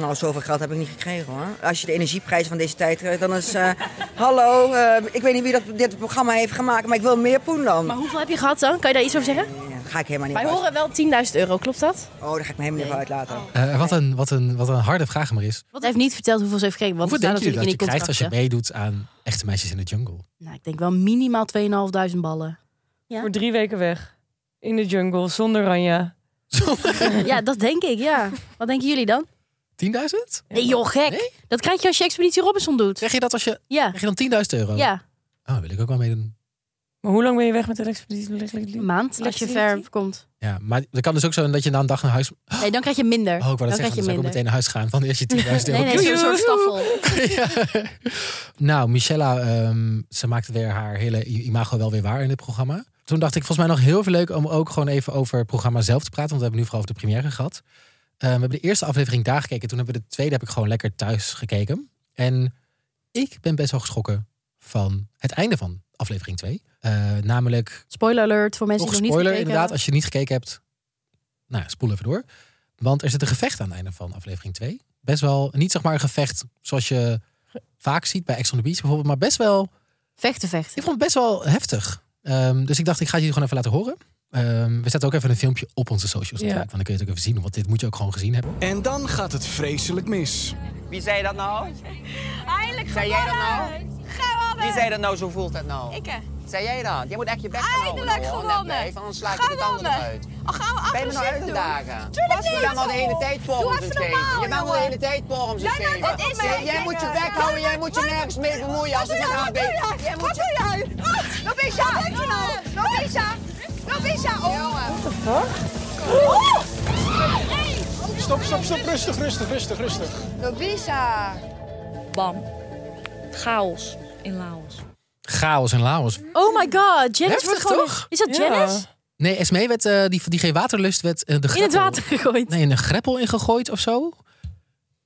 [SPEAKER 5] Nou, zoveel geld heb ik niet gekregen hoor. Als je de energieprijs van deze tijd eh, dan is. eh, [LAUGHS] hallo, eh, ik weet niet wie dat, dit programma heeft gemaakt, maar ik wil meer poen dan.
[SPEAKER 3] Maar hoeveel heb je gehad dan? Kan je daar iets over zeggen?
[SPEAKER 5] Nee, dat ga ik helemaal niet
[SPEAKER 3] Wij
[SPEAKER 5] uit-
[SPEAKER 3] horen wel 10.000 euro, klopt dat?
[SPEAKER 5] Oh, daar ga ik me helemaal niet uit laten.
[SPEAKER 6] Oh.
[SPEAKER 1] Eh, wat, een, wat, een, wat een harde vraag, Maris.
[SPEAKER 3] Want hij heeft niet verteld hoeveel ze heeft gekregen. Want
[SPEAKER 1] Hoeveel denk
[SPEAKER 3] het
[SPEAKER 1] je
[SPEAKER 3] staat
[SPEAKER 1] dat je
[SPEAKER 3] natuurlijk in die
[SPEAKER 1] krijgt als je
[SPEAKER 3] contracten.
[SPEAKER 1] meedoet aan Echte Meisjes in de Jungle? [LAUGHS]
[SPEAKER 3] Nou, ik denk wel minimaal 2.500 ballen. [CLEARS THROAT] Ja.
[SPEAKER 2] Voor drie weken weg. In de jungle, zonder Ranja.
[SPEAKER 3] [LAUGHS] ja, dat denk ik, ja. Wat denken jullie dan?
[SPEAKER 1] 10.000?
[SPEAKER 3] Nee joh, gek.
[SPEAKER 1] Nee?
[SPEAKER 3] Dat krijg je als je Expeditie Robinson doet.
[SPEAKER 1] Zeg je dat als je...
[SPEAKER 3] Ja,
[SPEAKER 1] Krijg je dan 10.000 euro?
[SPEAKER 3] ja.
[SPEAKER 1] Oh, wil ik ook wel meedoen.
[SPEAKER 2] Maar hoe lang ben je weg met de expeditie?
[SPEAKER 3] Een maand als je ver komt.
[SPEAKER 1] Ja, maar dat kan dus ook zo dat je na een dag naar huis... Oh,
[SPEAKER 3] Nee, dan krijg je minder.
[SPEAKER 1] ik wou
[SPEAKER 3] dan
[SPEAKER 1] dat
[SPEAKER 3] krijg
[SPEAKER 1] zeggen,
[SPEAKER 3] je
[SPEAKER 1] dan zou ik ook meteen
[SPEAKER 3] minder.
[SPEAKER 1] naar huis gaan. Van, als
[SPEAKER 3] [LAUGHS]
[SPEAKER 1] je 10.000 euro...
[SPEAKER 3] Nee, nee, zo'n soort staffel.
[SPEAKER 1] [LAUGHS] Ja. Nou, Michella, ehm, ze maakte weer haar hele i- imago wel weer waar in dit programma. Toen dacht ik, volgens mij nog heel veel leuk om ook gewoon even over het programma zelf te praten. Want we hebben nu vooral over de première gehad. Ehm, we hebben de eerste aflevering daar gekeken. Toen hebben we de tweede heb ik gewoon lekker thuis gekeken. En ik ben best wel geschrokken van het einde van aflevering 2. namelijk,
[SPEAKER 3] Spoiler alert voor mensen
[SPEAKER 1] toch
[SPEAKER 3] die nog niet
[SPEAKER 1] spoiler
[SPEAKER 3] gekeken
[SPEAKER 1] inderdaad,
[SPEAKER 3] hebben.
[SPEAKER 1] als je niet gekeken hebt. Nou, spoel even door. Want er zit een gevecht aan het einde van aflevering 2. Best wel, niet zeg maar een gevecht zoals je vaak ziet bij Ex on the Beach bijvoorbeeld. Maar best wel,
[SPEAKER 3] Vechten,
[SPEAKER 1] ik
[SPEAKER 3] vechten.
[SPEAKER 1] vond het best wel heftig. Ehm, dus ik dacht, ik ga het jullie gewoon even laten horen. Ehm, we zetten ook even een filmpje op onze socials natuurlijk. Want dan kun je het ook even zien. Want dit moet je ook gewoon gezien hebben.
[SPEAKER 4] En dan gaat het vreselijk mis.
[SPEAKER 7] Wie zei
[SPEAKER 5] [LAUGHS]
[SPEAKER 7] dat nou?
[SPEAKER 6] Eindelijk
[SPEAKER 7] Zei jij dat nou?
[SPEAKER 6] Gauw
[SPEAKER 7] Wie zei dat nou? Zo voelt dat nou?
[SPEAKER 6] Ik hè.
[SPEAKER 7] Zei jij dat? Jij moet echt je best gaan doen.
[SPEAKER 6] Eindelijk gewonnen.
[SPEAKER 7] Anders sla ik je de tanden
[SPEAKER 6] Gewonnen.
[SPEAKER 7] eruit.
[SPEAKER 6] Oh, gaan we
[SPEAKER 7] Ben je me nou
[SPEAKER 6] agressief
[SPEAKER 7] uit te
[SPEAKER 6] doen?
[SPEAKER 7] dagen?
[SPEAKER 6] Tuurlijk
[SPEAKER 7] Je
[SPEAKER 6] niet.
[SPEAKER 5] nou
[SPEAKER 7] bent al de hele tijd voor
[SPEAKER 6] Doe
[SPEAKER 7] ons
[SPEAKER 6] even
[SPEAKER 7] het geven.
[SPEAKER 6] normaal,
[SPEAKER 7] Je bent al de
[SPEAKER 6] jongen.
[SPEAKER 7] hele tijd voor ons het
[SPEAKER 6] Jij bent
[SPEAKER 7] geven.
[SPEAKER 6] dit is eh.
[SPEAKER 7] Jij-
[SPEAKER 6] mijn
[SPEAKER 7] Jij moet je
[SPEAKER 6] ding.
[SPEAKER 7] bek houden. Jij moet je
[SPEAKER 6] Wat-
[SPEAKER 7] nergens mee bemoeien. Als
[SPEAKER 6] Wat
[SPEAKER 7] ik het
[SPEAKER 6] doe jij?
[SPEAKER 7] aan
[SPEAKER 6] Wat doe
[SPEAKER 7] ben.
[SPEAKER 6] jij?
[SPEAKER 7] Jij moet
[SPEAKER 6] Wat doe jij? Lopisha, wat je nou? Lopisha, Lopisha, oh.
[SPEAKER 4] Stop, stop, stop. Rustig, rustig, rustig, rustig.
[SPEAKER 6] Lopisha.
[SPEAKER 8] Bam. Chaos in Laos.
[SPEAKER 1] Chaos en Laos.
[SPEAKER 3] Oh my god, Janice
[SPEAKER 1] Heftig,
[SPEAKER 3] wordt gewoon...
[SPEAKER 1] toch?
[SPEAKER 3] Is dat Janice?
[SPEAKER 1] Nee, Esmee werd, eh, die, die geen waterlust, werd eh, de
[SPEAKER 3] In het
[SPEAKER 1] greppel-
[SPEAKER 3] water gegooid.
[SPEAKER 1] Nee, in een greppel ingegooid of zo.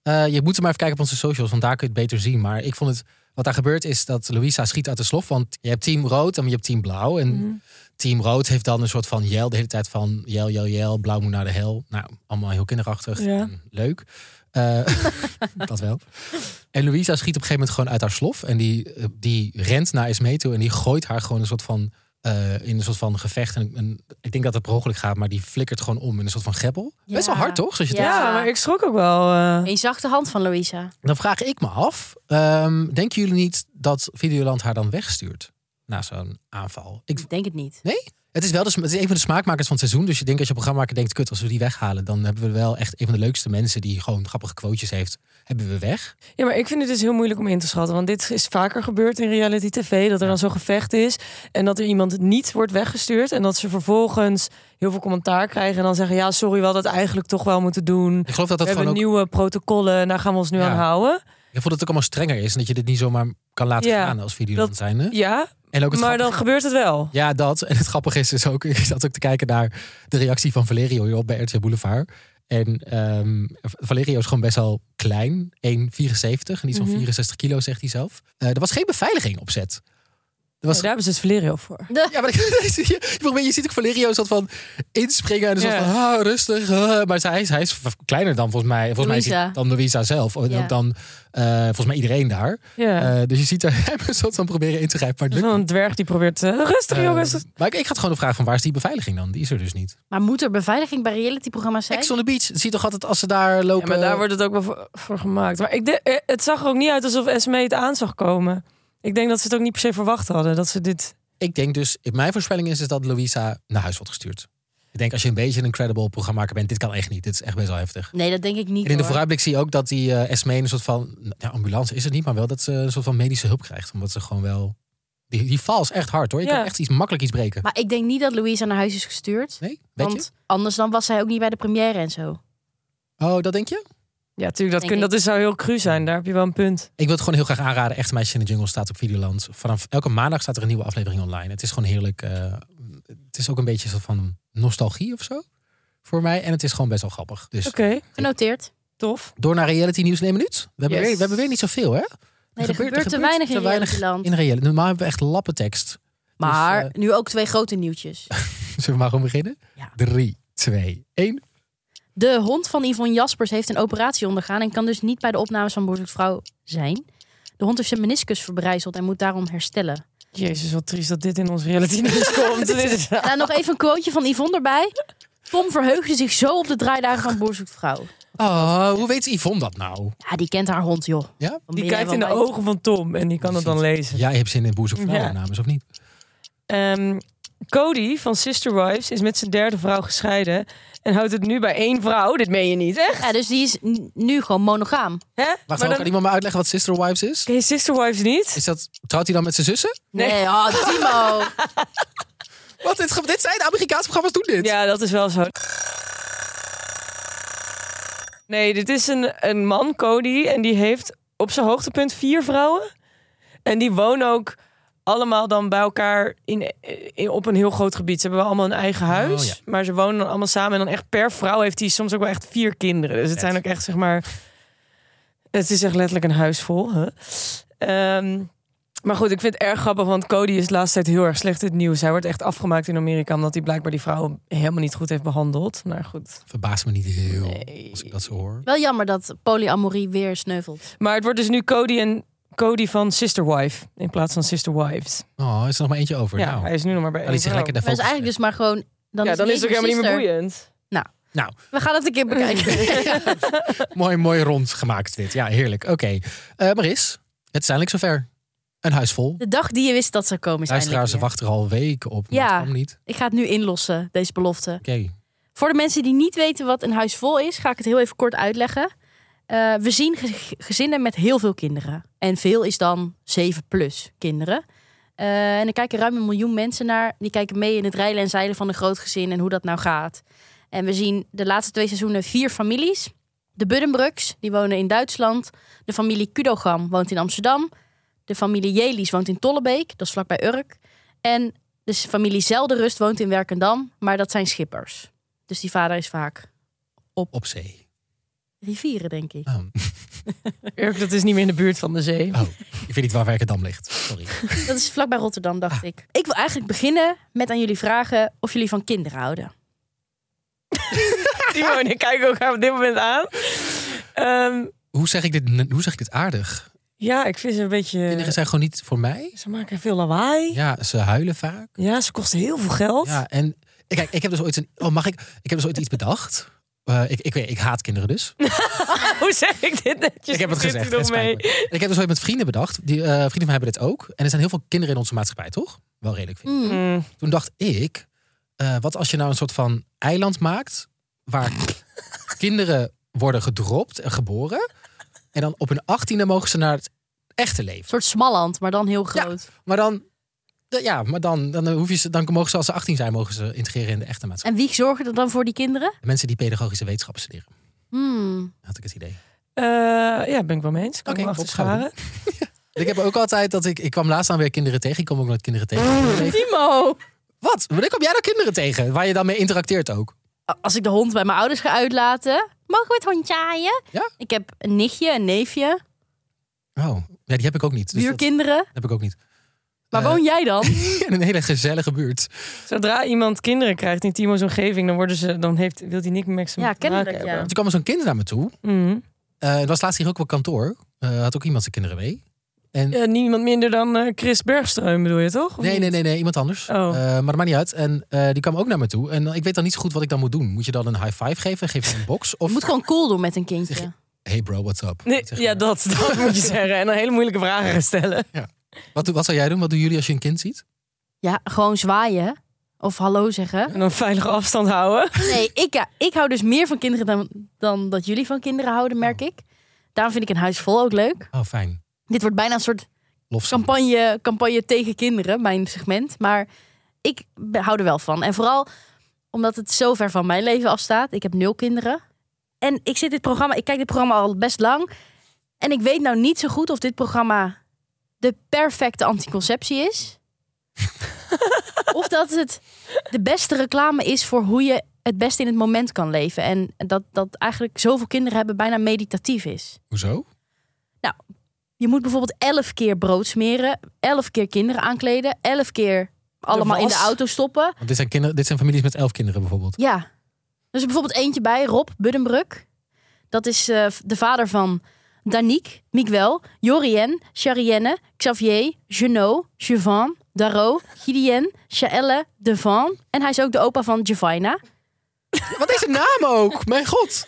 [SPEAKER 1] Eh, je moet er maar even kijken op onze socials, want daar kun je het beter zien. Maar ik vond het, wat daar gebeurt is dat Louisa schiet uit de slof. Want je hebt team rood en je hebt team blauw. En team rood heeft dan een soort van jel de hele tijd van... jel, jel, jel, blauw moet naar de hel. Nou, allemaal heel kinderachtig
[SPEAKER 2] Ja.
[SPEAKER 1] en leuk. Eh, [LAUGHS] dat wel. En Louisa schiet op een gegeven moment gewoon uit haar slof. En die, eh, die rent naar Esme toe en die gooit haar gewoon een soort van... eh, in een soort van gevecht. En, en ik denk dat het per ongeluk gaat, maar die flikkert gewoon om in een soort van greppel. Best wel
[SPEAKER 3] Ja.
[SPEAKER 1] hard, toch? Zoals je het
[SPEAKER 3] Ja.
[SPEAKER 2] Ja, maar ik schrok ook wel. eh.
[SPEAKER 3] Een zachte hand van Louisa.
[SPEAKER 1] Dan vraag ik me af, ehm, denken jullie niet dat Videoland haar dan wegstuurt na zo'n aanval? Ik,
[SPEAKER 3] Ik denk het niet.
[SPEAKER 1] het is wel de, sm- het is een van de smaakmakers van het seizoen, dus je denkt als je programmaker denkt, kut, als we die weghalen, dan hebben we wel echt een van de leukste mensen die gewoon grappige quotejes heeft, hebben we weg.
[SPEAKER 2] Ja, maar ik vind het dus heel moeilijk om in te schatten. Want dit is vaker gebeurd in reality tv. Dat er dan zo'n gevecht is. En dat er iemand niet wordt weggestuurd. En dat ze vervolgens heel veel commentaar krijgen. En dan zeggen, ja, sorry, we hadden het eigenlijk toch wel moeten doen.
[SPEAKER 1] Ik geloof dat dat
[SPEAKER 2] we hebben
[SPEAKER 1] gewoon ook,
[SPEAKER 2] nieuwe protocollen en daar gaan we ons nu
[SPEAKER 1] Ja.
[SPEAKER 2] aan houden.
[SPEAKER 1] ik voel dat het ook allemaal strenger is en dat je dit niet zomaar kan laten
[SPEAKER 2] Ja,
[SPEAKER 1] gaan als Videoland
[SPEAKER 2] dat-
[SPEAKER 1] zijnde.
[SPEAKER 2] Ja,
[SPEAKER 1] En ook het
[SPEAKER 2] maar
[SPEAKER 1] grappige-
[SPEAKER 2] dan gebeurt het wel.
[SPEAKER 1] Ja, dat. En het grappige is dus ook, [LAUGHS] ik zat ook te kijken naar de reactie van Valerio hierop bij RTL Boulevard. En ehm, Valerio is gewoon best wel klein, 1,74 en iets van
[SPEAKER 2] Mhm.
[SPEAKER 1] 64 kilo, zegt hij zelf. Eh, er was geen beveiliging op zet. Er was
[SPEAKER 2] Ja, Oh, daar hebben ze het Valerio voor.
[SPEAKER 1] ja, maar [LAUGHS] ik, je, probeert- je ziet ook Valerio een soort van inspringen. En een soort
[SPEAKER 2] Ja.
[SPEAKER 1] van, ah, rustig. ah. Maar hij is, hij is v- kleiner dan volgens mij, volgens mij is hij
[SPEAKER 3] Louisa.
[SPEAKER 1] dan Louisa zelf. En
[SPEAKER 3] Ja.
[SPEAKER 1] ook dan eh, volgens mij iedereen daar.
[SPEAKER 2] Ja.
[SPEAKER 1] Eh, dus je ziet er [LAUGHS] hem een soort van proberen in te grijpen. Maar het lukt
[SPEAKER 2] Zo'n dwerg die probeert eh, rustig
[SPEAKER 1] Eh,
[SPEAKER 2] jongens.
[SPEAKER 1] maar ik, ik had gewoon de vraag van waar is die beveiliging dan? Die is er dus niet.
[SPEAKER 3] Maar moet er beveiliging bij realityprogramma's zijn?
[SPEAKER 1] Ex on the beach, zie je toch altijd als ze daar
[SPEAKER 2] Ja,
[SPEAKER 1] lopen.
[SPEAKER 2] maar daar wordt het ook wel voor, voor gemaakt. Maar ik de- eh, het zag er ook niet uit alsof Esme het aan zag komen. Ik denk dat ze het ook niet per se verwacht hadden. Dat ze dit...
[SPEAKER 1] Ik denk dus, mijn voorspelling is, is dat Louisa naar huis wordt gestuurd. Ik denk als je een beetje een credible programmaker bent, dit kan echt niet. Dit is echt best wel heftig.
[SPEAKER 3] Nee, dat denk ik
[SPEAKER 1] En
[SPEAKER 3] niet.
[SPEAKER 1] in de
[SPEAKER 3] hoor.
[SPEAKER 1] vooruitblik zie je ook dat die eh Esme een soort van, ja, ambulance is het niet, maar wel dat ze een soort van medische hulp krijgt. Omdat ze gewoon wel, die, die val is echt hard hoor. Je
[SPEAKER 2] Ja.
[SPEAKER 1] kan echt iets, makkelijk iets breken.
[SPEAKER 3] Maar ik denk niet dat Louisa naar huis is gestuurd.
[SPEAKER 1] Nee, weet
[SPEAKER 3] want anders dan was zij ook niet bij de première en zo.
[SPEAKER 1] je? Oh, dat denk je?
[SPEAKER 2] Ja, natuurlijk. Dat,
[SPEAKER 3] Denk
[SPEAKER 2] kun,
[SPEAKER 3] ik.
[SPEAKER 2] dat is, zou heel cru zijn. Daar heb je wel een punt.
[SPEAKER 1] Ik wil het gewoon heel graag aanraden. Echte Meisjes in de Jungle staat op Videoland. Vanaf elke maandag staat er een nieuwe aflevering online. Het is gewoon heerlijk. eh, het is ook een beetje een soort van nostalgie of zo. Voor mij. En het is gewoon best wel grappig. Dus
[SPEAKER 2] Oké,
[SPEAKER 3] Genoteerd.
[SPEAKER 2] tof.
[SPEAKER 1] door naar reality nieuws in één minuut. We hebben,
[SPEAKER 2] Yes.
[SPEAKER 1] weer, we hebben weer niet zoveel hè?
[SPEAKER 3] Nee, er gebeurt, te weinig in realityland.
[SPEAKER 1] in reality. Normaal hebben we echt lappentekst.
[SPEAKER 3] Maar
[SPEAKER 1] Dus,
[SPEAKER 3] nu ook twee grote
[SPEAKER 1] [LAUGHS]
[SPEAKER 3] nieuwtjes.
[SPEAKER 1] Zullen we maar gewoon beginnen?
[SPEAKER 3] Ja.
[SPEAKER 1] 3, 2, 1.
[SPEAKER 3] De hond van Yvonne Jaspers heeft een operatie ondergaan en kan dus niet bij de opnames van Boerzoek Vrouw zijn. De hond heeft zijn meniscus verbrijzeld en moet daarom
[SPEAKER 2] [LAUGHS]
[SPEAKER 3] herstellen.
[SPEAKER 2] Jezus, wat triest dat dit in ons [LAUGHS] reality nieuws komt. dit [LAUGHS] is...
[SPEAKER 3] En dan nog even een quoteje van Yvonne erbij. Tom verheugde zich zo op de draaidagen van Boerzoek Vrouw.
[SPEAKER 1] Oh, hoe weet Yvonne dat nou?
[SPEAKER 3] Ja, die kent haar hond, joh.
[SPEAKER 1] Ja?
[SPEAKER 3] Dan ben
[SPEAKER 2] Die
[SPEAKER 3] jij
[SPEAKER 2] kijkt
[SPEAKER 3] wel
[SPEAKER 2] in de
[SPEAKER 3] bij-
[SPEAKER 2] ogen van Tom en die kan dat dan lezen.
[SPEAKER 1] Jij hebt zin in boers of
[SPEAKER 2] Ja.
[SPEAKER 1] namens of niet?
[SPEAKER 2] Ehm, Cody van Sister Wives is met zijn derde vrouw gescheiden. En houdt het nu bij één vrouw. Dit meen je niet, echt?
[SPEAKER 3] Ja, dus die is n- nu gewoon monogaam.
[SPEAKER 2] Hè?
[SPEAKER 1] Wacht,
[SPEAKER 2] Maar
[SPEAKER 1] dan...
[SPEAKER 2] dan-
[SPEAKER 1] kan iemand me uitleggen wat Sister Wives is?
[SPEAKER 2] Ken je Sister Wives niet?
[SPEAKER 1] Is dat, trouwt hij dan met zijn zussen?
[SPEAKER 2] Nee.
[SPEAKER 3] Nee, oh,
[SPEAKER 2] [LAUGHS]
[SPEAKER 3] Timo.
[SPEAKER 1] Wat? Dit, ge- dit zijn de Amerikaanse programma's doen dit.
[SPEAKER 2] Ja, dat is wel zo. Nee, dit is een, een man, Cody, en die heeft op zijn hoogtepunt vier vrouwen. En die wonen ook allemaal dan bij elkaar in, in, op een heel groot gebied. Ze hebben wel allemaal een eigen huis,
[SPEAKER 1] Oh, ja.
[SPEAKER 2] maar ze wonen dan allemaal samen. En dan echt per vrouw heeft hij soms ook wel echt vier kinderen. Dus het zijn ook echt, zeg maar... Het is echt letterlijk een huis vol. Hè? Ehm, maar goed, ik vind het erg grappig, want Cody is de laatste tijd heel erg slecht in het nieuws. Hij wordt echt afgemaakt in Amerika, omdat hij blijkbaar die vrouw helemaal niet goed heeft behandeld. Maar goed.
[SPEAKER 1] Verbaast me niet heel
[SPEAKER 2] Nee.
[SPEAKER 1] als ik dat zo hoor.
[SPEAKER 3] Wel jammer dat polyamorie weer sneuvelt.
[SPEAKER 2] Maar het wordt dus nu Cody en Cody van Sister Wife in plaats van Sister Wives.
[SPEAKER 1] Oh, is er nog maar eentje over.
[SPEAKER 2] Ja,
[SPEAKER 1] nou,
[SPEAKER 2] hij is nu nog maar bij
[SPEAKER 1] laat hij
[SPEAKER 2] één
[SPEAKER 1] zich
[SPEAKER 2] vrouw.
[SPEAKER 1] lekker de
[SPEAKER 3] Maar dat
[SPEAKER 1] focus.
[SPEAKER 3] is eigenlijk dus maar gewoon... Dan
[SPEAKER 2] Ja,
[SPEAKER 3] is
[SPEAKER 2] dan is het ook
[SPEAKER 3] niet eens
[SPEAKER 2] helemaal niet meer
[SPEAKER 3] sister.
[SPEAKER 2] boeiend.
[SPEAKER 1] Nou,
[SPEAKER 3] We gaan het een keer bekijken.
[SPEAKER 2] [LAUGHS]
[SPEAKER 1] mooi, mooi rond gemaakt dit. Ja, heerlijk. Oké. Eh, Maris, het is eindelijk zover. Een huis vol.
[SPEAKER 3] De dag die je wist dat zou komen is
[SPEAKER 1] Luisteraars
[SPEAKER 3] eindelijk
[SPEAKER 1] wachten er al weken op, maar
[SPEAKER 3] Ja.
[SPEAKER 1] het kwam niet. Oké,
[SPEAKER 3] weer. Ik ga het nu inlossen, deze belofte. Voor de mensen die niet weten wat een huis vol is, ga ik het heel even kort uitleggen. Eh, we zien ge- gezinnen met heel veel kinderen. En veel is dan 7 plus kinderen. Eh, en er kijken ruim een miljoen mensen naar. Die kijken mee in het rijden en zeilen van een groot gezin en hoe dat nou gaat. En we zien de laatste twee seizoenen vier families. De Buddenbrucks, die wonen in Duitsland. De familie Kudogam woont in Amsterdam. De familie Jelies woont in Tollebeek, dat is vlakbij Urk. En de s- familie Zelderust woont in Werkendam, maar dat zijn schippers. Dus die vader is vaak
[SPEAKER 1] op zee.
[SPEAKER 3] rivieren,
[SPEAKER 1] [LAUGHS]
[SPEAKER 3] denk ik.
[SPEAKER 1] Nou,
[SPEAKER 2] Urk, dat is niet meer in de buurt van de
[SPEAKER 3] [LAUGHS]
[SPEAKER 2] zee.
[SPEAKER 1] oh, ik weet niet waar Werkendam ligt. Sorry.
[SPEAKER 3] Dat is vlakbij Rotterdam, dacht
[SPEAKER 1] Ah.
[SPEAKER 3] ik. Ik wil eigenlijk beginnen met aan jullie vragen of jullie van kinderen houden.
[SPEAKER 2] Timo en ik kijken elkaar op dit moment aan. Ehm,
[SPEAKER 1] Hoe zeg ik dit, hoe zeg ik dit aardig?
[SPEAKER 2] ja, ik vind ze een beetje...
[SPEAKER 1] Kinderen zijn gewoon niet voor mij.
[SPEAKER 2] Ze maken veel lawaai.
[SPEAKER 1] Ja, ze huilen vaak.
[SPEAKER 2] Ja, ze kosten heel veel geld.
[SPEAKER 1] Ja, en kijk, ik heb dus ooit een. Oh, mag ik? Ik heb dus ooit iets bedacht. Eh, ik, ik, weet- ik haat kinderen dus.
[SPEAKER 2] [LAUGHS] Hoe zeg ik dit netjes?
[SPEAKER 1] Ik heb het
[SPEAKER 2] Zit u
[SPEAKER 1] gezegd.
[SPEAKER 2] nog
[SPEAKER 1] Het spijt me. Ik heb dus ooit met vrienden bedacht. Die, eh, vrienden van mij hebben dit ook. En er zijn heel veel kinderen in onze maatschappij, toch? Wel redelijk veel.
[SPEAKER 3] Mm.
[SPEAKER 2] Mm.
[SPEAKER 1] Toen dacht ik, eh, wat als je nou een soort van eiland maakt waar kinderen worden gedropt en geboren. En dan op hun achttiende mogen ze naar het echte
[SPEAKER 3] Een
[SPEAKER 1] leven.
[SPEAKER 3] soort smalland, maar dan heel groot.
[SPEAKER 1] Maar dan, eh, ja, maar dan, dan, hoef je ze, dan mogen ze als ze 18 zijn, mogen ze integreren in de echte maatschappij.
[SPEAKER 3] En wie zorgen er dan voor die kinderen?
[SPEAKER 1] Mensen die pedagogische wetenschappen studeren,
[SPEAKER 3] Hmm.
[SPEAKER 1] had ik het idee.
[SPEAKER 2] Eh, ja, ben ik wel mee eens. Kan
[SPEAKER 1] Oké,
[SPEAKER 2] ik me
[SPEAKER 1] top,
[SPEAKER 2] achter
[SPEAKER 1] gaan we
[SPEAKER 2] scharen.
[SPEAKER 1] Ik heb ook altijd dat ik... Ik kwam laatst aan weer kinderen tegen. Ik kom ook nooit kinderen tegen.
[SPEAKER 3] [LAUGHS] Timo!
[SPEAKER 1] Wat? Wanneer kom jij nou kinderen tegen? Waar je dan mee interacteert ook.
[SPEAKER 3] Als ik de hond bij mijn ouders ga uitlaten, mogen we het hondje aaien?
[SPEAKER 1] Ja.
[SPEAKER 3] Ik heb een nichtje, een neefje,
[SPEAKER 1] Oh, ja, die heb ik ook niet. Dus dat, dat
[SPEAKER 3] buurkinderen.
[SPEAKER 1] heb ik ook niet. [LAUGHS]
[SPEAKER 3] Waar
[SPEAKER 1] Eh,
[SPEAKER 3] woon jij dan?
[SPEAKER 1] In een hele gezellige buurt.
[SPEAKER 2] Zodra iemand kinderen krijgt in Timo's omgeving, dan, worden ze, dan heeft, wil hij niks met ze te
[SPEAKER 3] Ja,
[SPEAKER 2] maken
[SPEAKER 3] kennelijk, ja.
[SPEAKER 2] hebben.
[SPEAKER 1] Toen kwam er zo'n kind naar me toe.
[SPEAKER 2] Mhm.
[SPEAKER 1] Eh het was laatst hier ook wel kantoor. Eh, had ook iemand zijn kinderen mee. En,
[SPEAKER 2] Ja, niemand minder dan eh, Chris Bergström bedoel je toch? Of
[SPEAKER 1] nee,
[SPEAKER 2] niet?
[SPEAKER 1] nee, nee, nee, iemand anders.
[SPEAKER 2] Oh.
[SPEAKER 1] Eh, maar dat maakt niet uit. En eh, die kwam ook naar me toe. En eh, ik weet dan niet zo goed wat ik dan moet doen. Moet je dan een high five geven? Geef je een box? Of
[SPEAKER 3] Je moet gewoon cool doen
[SPEAKER 1] [LAUGHS]
[SPEAKER 3] met een kindje.
[SPEAKER 1] hey bro, what's up?
[SPEAKER 2] Nee,
[SPEAKER 1] Zeg
[SPEAKER 2] ja,
[SPEAKER 1] maar.
[SPEAKER 2] dat, dat
[SPEAKER 1] [LAUGHS]
[SPEAKER 2] moet je zeggen. En dan hele moeilijke vragen gaan stellen.
[SPEAKER 1] wat, doe- wat zou jij doen? Wat doen jullie als je een kind ziet?
[SPEAKER 3] Ja, gewoon zwaaien. Of hallo zeggen.
[SPEAKER 2] En dan veilige afstand houden.
[SPEAKER 3] Nee, ik, ja, ik hou dus meer van kinderen dan, dan dat jullie van kinderen houden, merk ik. Daarom vind ik een huis vol ook leuk.
[SPEAKER 1] Oh, fijn.
[SPEAKER 3] Dit wordt bijna een soort
[SPEAKER 1] Lof.
[SPEAKER 3] campagne, campagne tegen kinderen, mijn segment. Maar ik be- hou er wel van. En vooral omdat het zo ver van mijn leven afstaat. Ik heb nul kinderen. En ik zit dit programma, ik kijk dit programma al best lang. En ik weet nou niet zo goed of dit programma de perfecte anticonceptie is. of dat het de beste reclame is voor hoe je het beste in het moment kan leven. En dat, dat eigenlijk zoveel kinderen hebben bijna meditatief is.
[SPEAKER 1] Hoezo?
[SPEAKER 3] Je moet bijvoorbeeld elf keer brood smeren, elf keer kinderen aankleden, elf keer allemaal in de
[SPEAKER 2] was.
[SPEAKER 3] auto stoppen.
[SPEAKER 1] Want dit zijn, kinderen, dit zijn families met elf kinderen bijvoorbeeld.
[SPEAKER 3] Ja. Er is er bijvoorbeeld eentje bij, Rob Buddenbruk. Dat is eh, de vader van Danique, Miguel, Jorien, Charienne, Xavier, Genot, Jevan, Daro, Gideon, Chaelle, Devan. En hij is ook de opa van Javina.
[SPEAKER 1] Wat is zijn naam ook? [LAUGHS] Mijn god.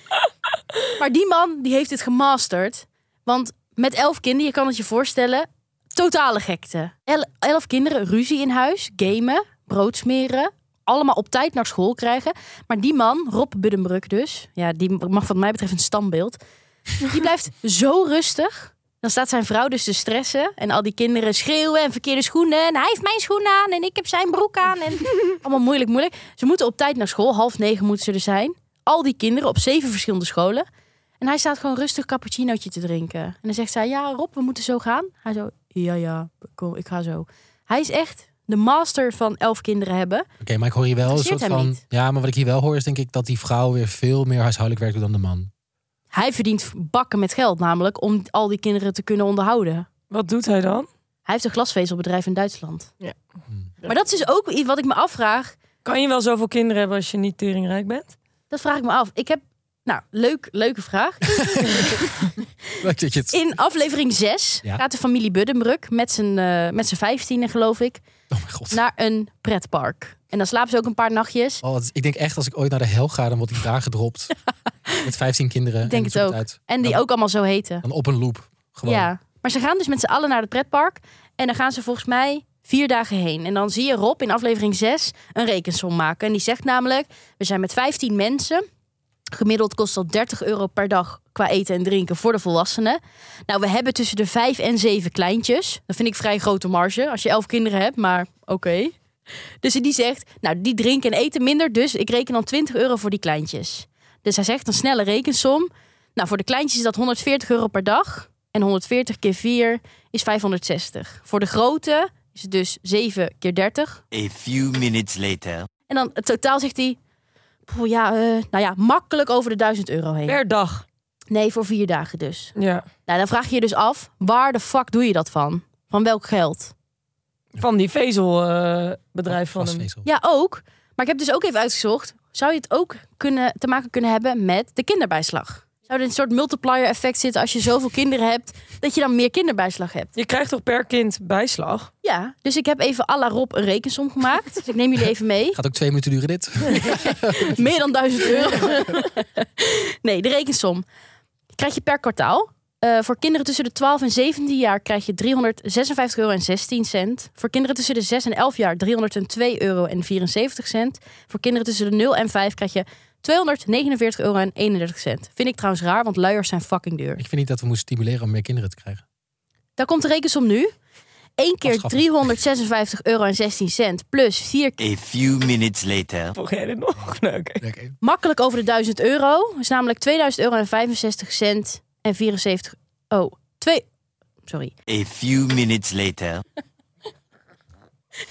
[SPEAKER 3] Maar die man die heeft dit gemasterd. Want met elf kinderen, je kan het je voorstellen, totale gekte. El- elf kinderen, ruzie in huis, gamen, brood smeren. Allemaal op tijd naar school krijgen. Maar die man, Rob Buddenbrug dus, ja, die mag wat mij betreft een standbeeld. Die blijft zo rustig. Dan staat zijn vrouw dus te stressen. En al die kinderen schreeuwen en verkeerde schoenen. En hij heeft mijn schoenen aan en ik heb zijn broek aan. En allemaal moeilijk, moeilijk. Ze moeten op tijd naar school. Half negen moeten ze er zijn. Al die kinderen op zeven verschillende scholen. En hij staat gewoon rustig cappuccinootje te drinken. En dan zegt zij, ja Rob, we moeten zo gaan. Hij zo, ja ja, kom, ik ga zo. Hij is echt de master van elf kinderen hebben.
[SPEAKER 1] Oké, maar ik hoor hier wel een
[SPEAKER 3] Interesseert
[SPEAKER 1] soort
[SPEAKER 3] hem
[SPEAKER 1] van...
[SPEAKER 3] niet.
[SPEAKER 1] Ja, maar wat ik hier wel hoor is denk ik dat die vrouw weer veel meer huishoudelijk werkt doet dan de
[SPEAKER 3] [LAUGHS]
[SPEAKER 1] man.
[SPEAKER 3] Hij verdient bakken met geld namelijk om al die kinderen te kunnen onderhouden.
[SPEAKER 2] Wat doet hij dan?
[SPEAKER 3] Hij heeft een glasvezelbedrijf in Duitsland.
[SPEAKER 2] Ja.
[SPEAKER 3] Maar dat is dus ook iets wat ik me afvraag.
[SPEAKER 2] Kan je wel zoveel kinderen hebben als je niet teringrijk bent?
[SPEAKER 3] Dat vraag ik me af. Ik heb, nou, leuk, leuke vraag.
[SPEAKER 1] Leuk dat je het...
[SPEAKER 3] In aflevering 6
[SPEAKER 1] Ja.
[SPEAKER 3] gaat de familie Buddenbrug met z'n eh, met z'n 15 geloof ik,
[SPEAKER 1] Oh mijn god.
[SPEAKER 3] naar een pretpark. En dan slapen ze ook een paar nachtjes.
[SPEAKER 1] Oh, het- ik denk echt als ik ooit naar de hel ga, dan wordt ik daar
[SPEAKER 3] [LAUGHS]
[SPEAKER 1] gedropt. Met 15 kinderen.
[SPEAKER 3] Ik denk
[SPEAKER 1] en
[SPEAKER 3] het
[SPEAKER 1] zoek
[SPEAKER 3] ook.
[SPEAKER 1] Uit.
[SPEAKER 3] En die
[SPEAKER 1] Dan-
[SPEAKER 3] ook allemaal zo heten.
[SPEAKER 1] Dan op een loop. Gewoon.
[SPEAKER 3] Ja, maar Maar ze gaan dus met z'n allen naar het pretpark. En dan gaan ze volgens mij vier dagen heen. En dan zie je Rob in aflevering 6 een rekensom maken. En die zegt namelijk, we zijn met 15 mensen. Gemiddeld kost dat 30 euro per dag qua eten en drinken voor de volwassenen. Nou, we hebben tussen de 5 en 7 kleintjes. Dat vind ik vrij grote marge als je 11 kinderen hebt, maar oké. Dus die zegt, nou, die drinken en eten minder, dus ik reken dan 20 euro voor die kleintjes. Dus hij zegt een snelle rekensom. Nou, voor de kleintjes is dat 140 euro per dag. En 140 keer 4 is 560. Voor de grote is het dus 7 keer 30.
[SPEAKER 9] A few minutes later.
[SPEAKER 3] En dan het totaal zegt hij, poeh, ja, eh, nou ja, makkelijk over de 1000 euro heen.
[SPEAKER 2] Per dag.
[SPEAKER 3] Nee, voor vier dagen dus.
[SPEAKER 2] Ja.
[SPEAKER 3] Nou, dan vraag je je dus af, waar de fuck doe je dat van? Van welk geld?
[SPEAKER 2] Van die vezelbedrijf
[SPEAKER 3] Oh,
[SPEAKER 2] bedrijf van hem.
[SPEAKER 1] Vastvezel.
[SPEAKER 3] Ja, ook. Maar ik heb dus ook even uitgezocht, zou je het ook kunnen, te maken kunnen hebben met de kinderbijslag? Zou er een soort multiplier effect zitten als je zoveel kinderen hebt, dat je dan meer kinderbijslag hebt?
[SPEAKER 2] Je krijgt toch per kind bijslag?
[SPEAKER 3] Ja, dus ik heb even à la Rob een rekensom gemaakt. Dus ik neem jullie even mee.
[SPEAKER 1] Gaat ook twee minuten duren dit.
[SPEAKER 3] Meer dan 1000 euro. nee, de rekensom. Krijg je per kwartaal. Eh, voor kinderen tussen de 12 en 17 jaar krijg je 356 euro en 16 cent. Voor kinderen tussen de 6 en 11 jaar 302 euro en 74 cent. Voor kinderen tussen de 0 en 5 krijg je 249 euro en 31 cent. Vind ik trouwens raar, want luiers zijn fucking duur.
[SPEAKER 1] Ik vind niet dat we moeten stimuleren om meer kinderen te krijgen.
[SPEAKER 3] Daar komt de rekensom nu. 1 keer
[SPEAKER 1] Afschaffen.
[SPEAKER 3] 356 euro en 16 cent plus 4
[SPEAKER 9] A few minutes later.
[SPEAKER 2] Volg jij dit nog? Nee, oké.
[SPEAKER 1] Ja, oké.
[SPEAKER 3] makkelijk over de 1000 euro. Dat is namelijk 2000 euro en 65 cent en 74... Oh, twee... Sorry. [LAUGHS]
[SPEAKER 9] A few minutes later.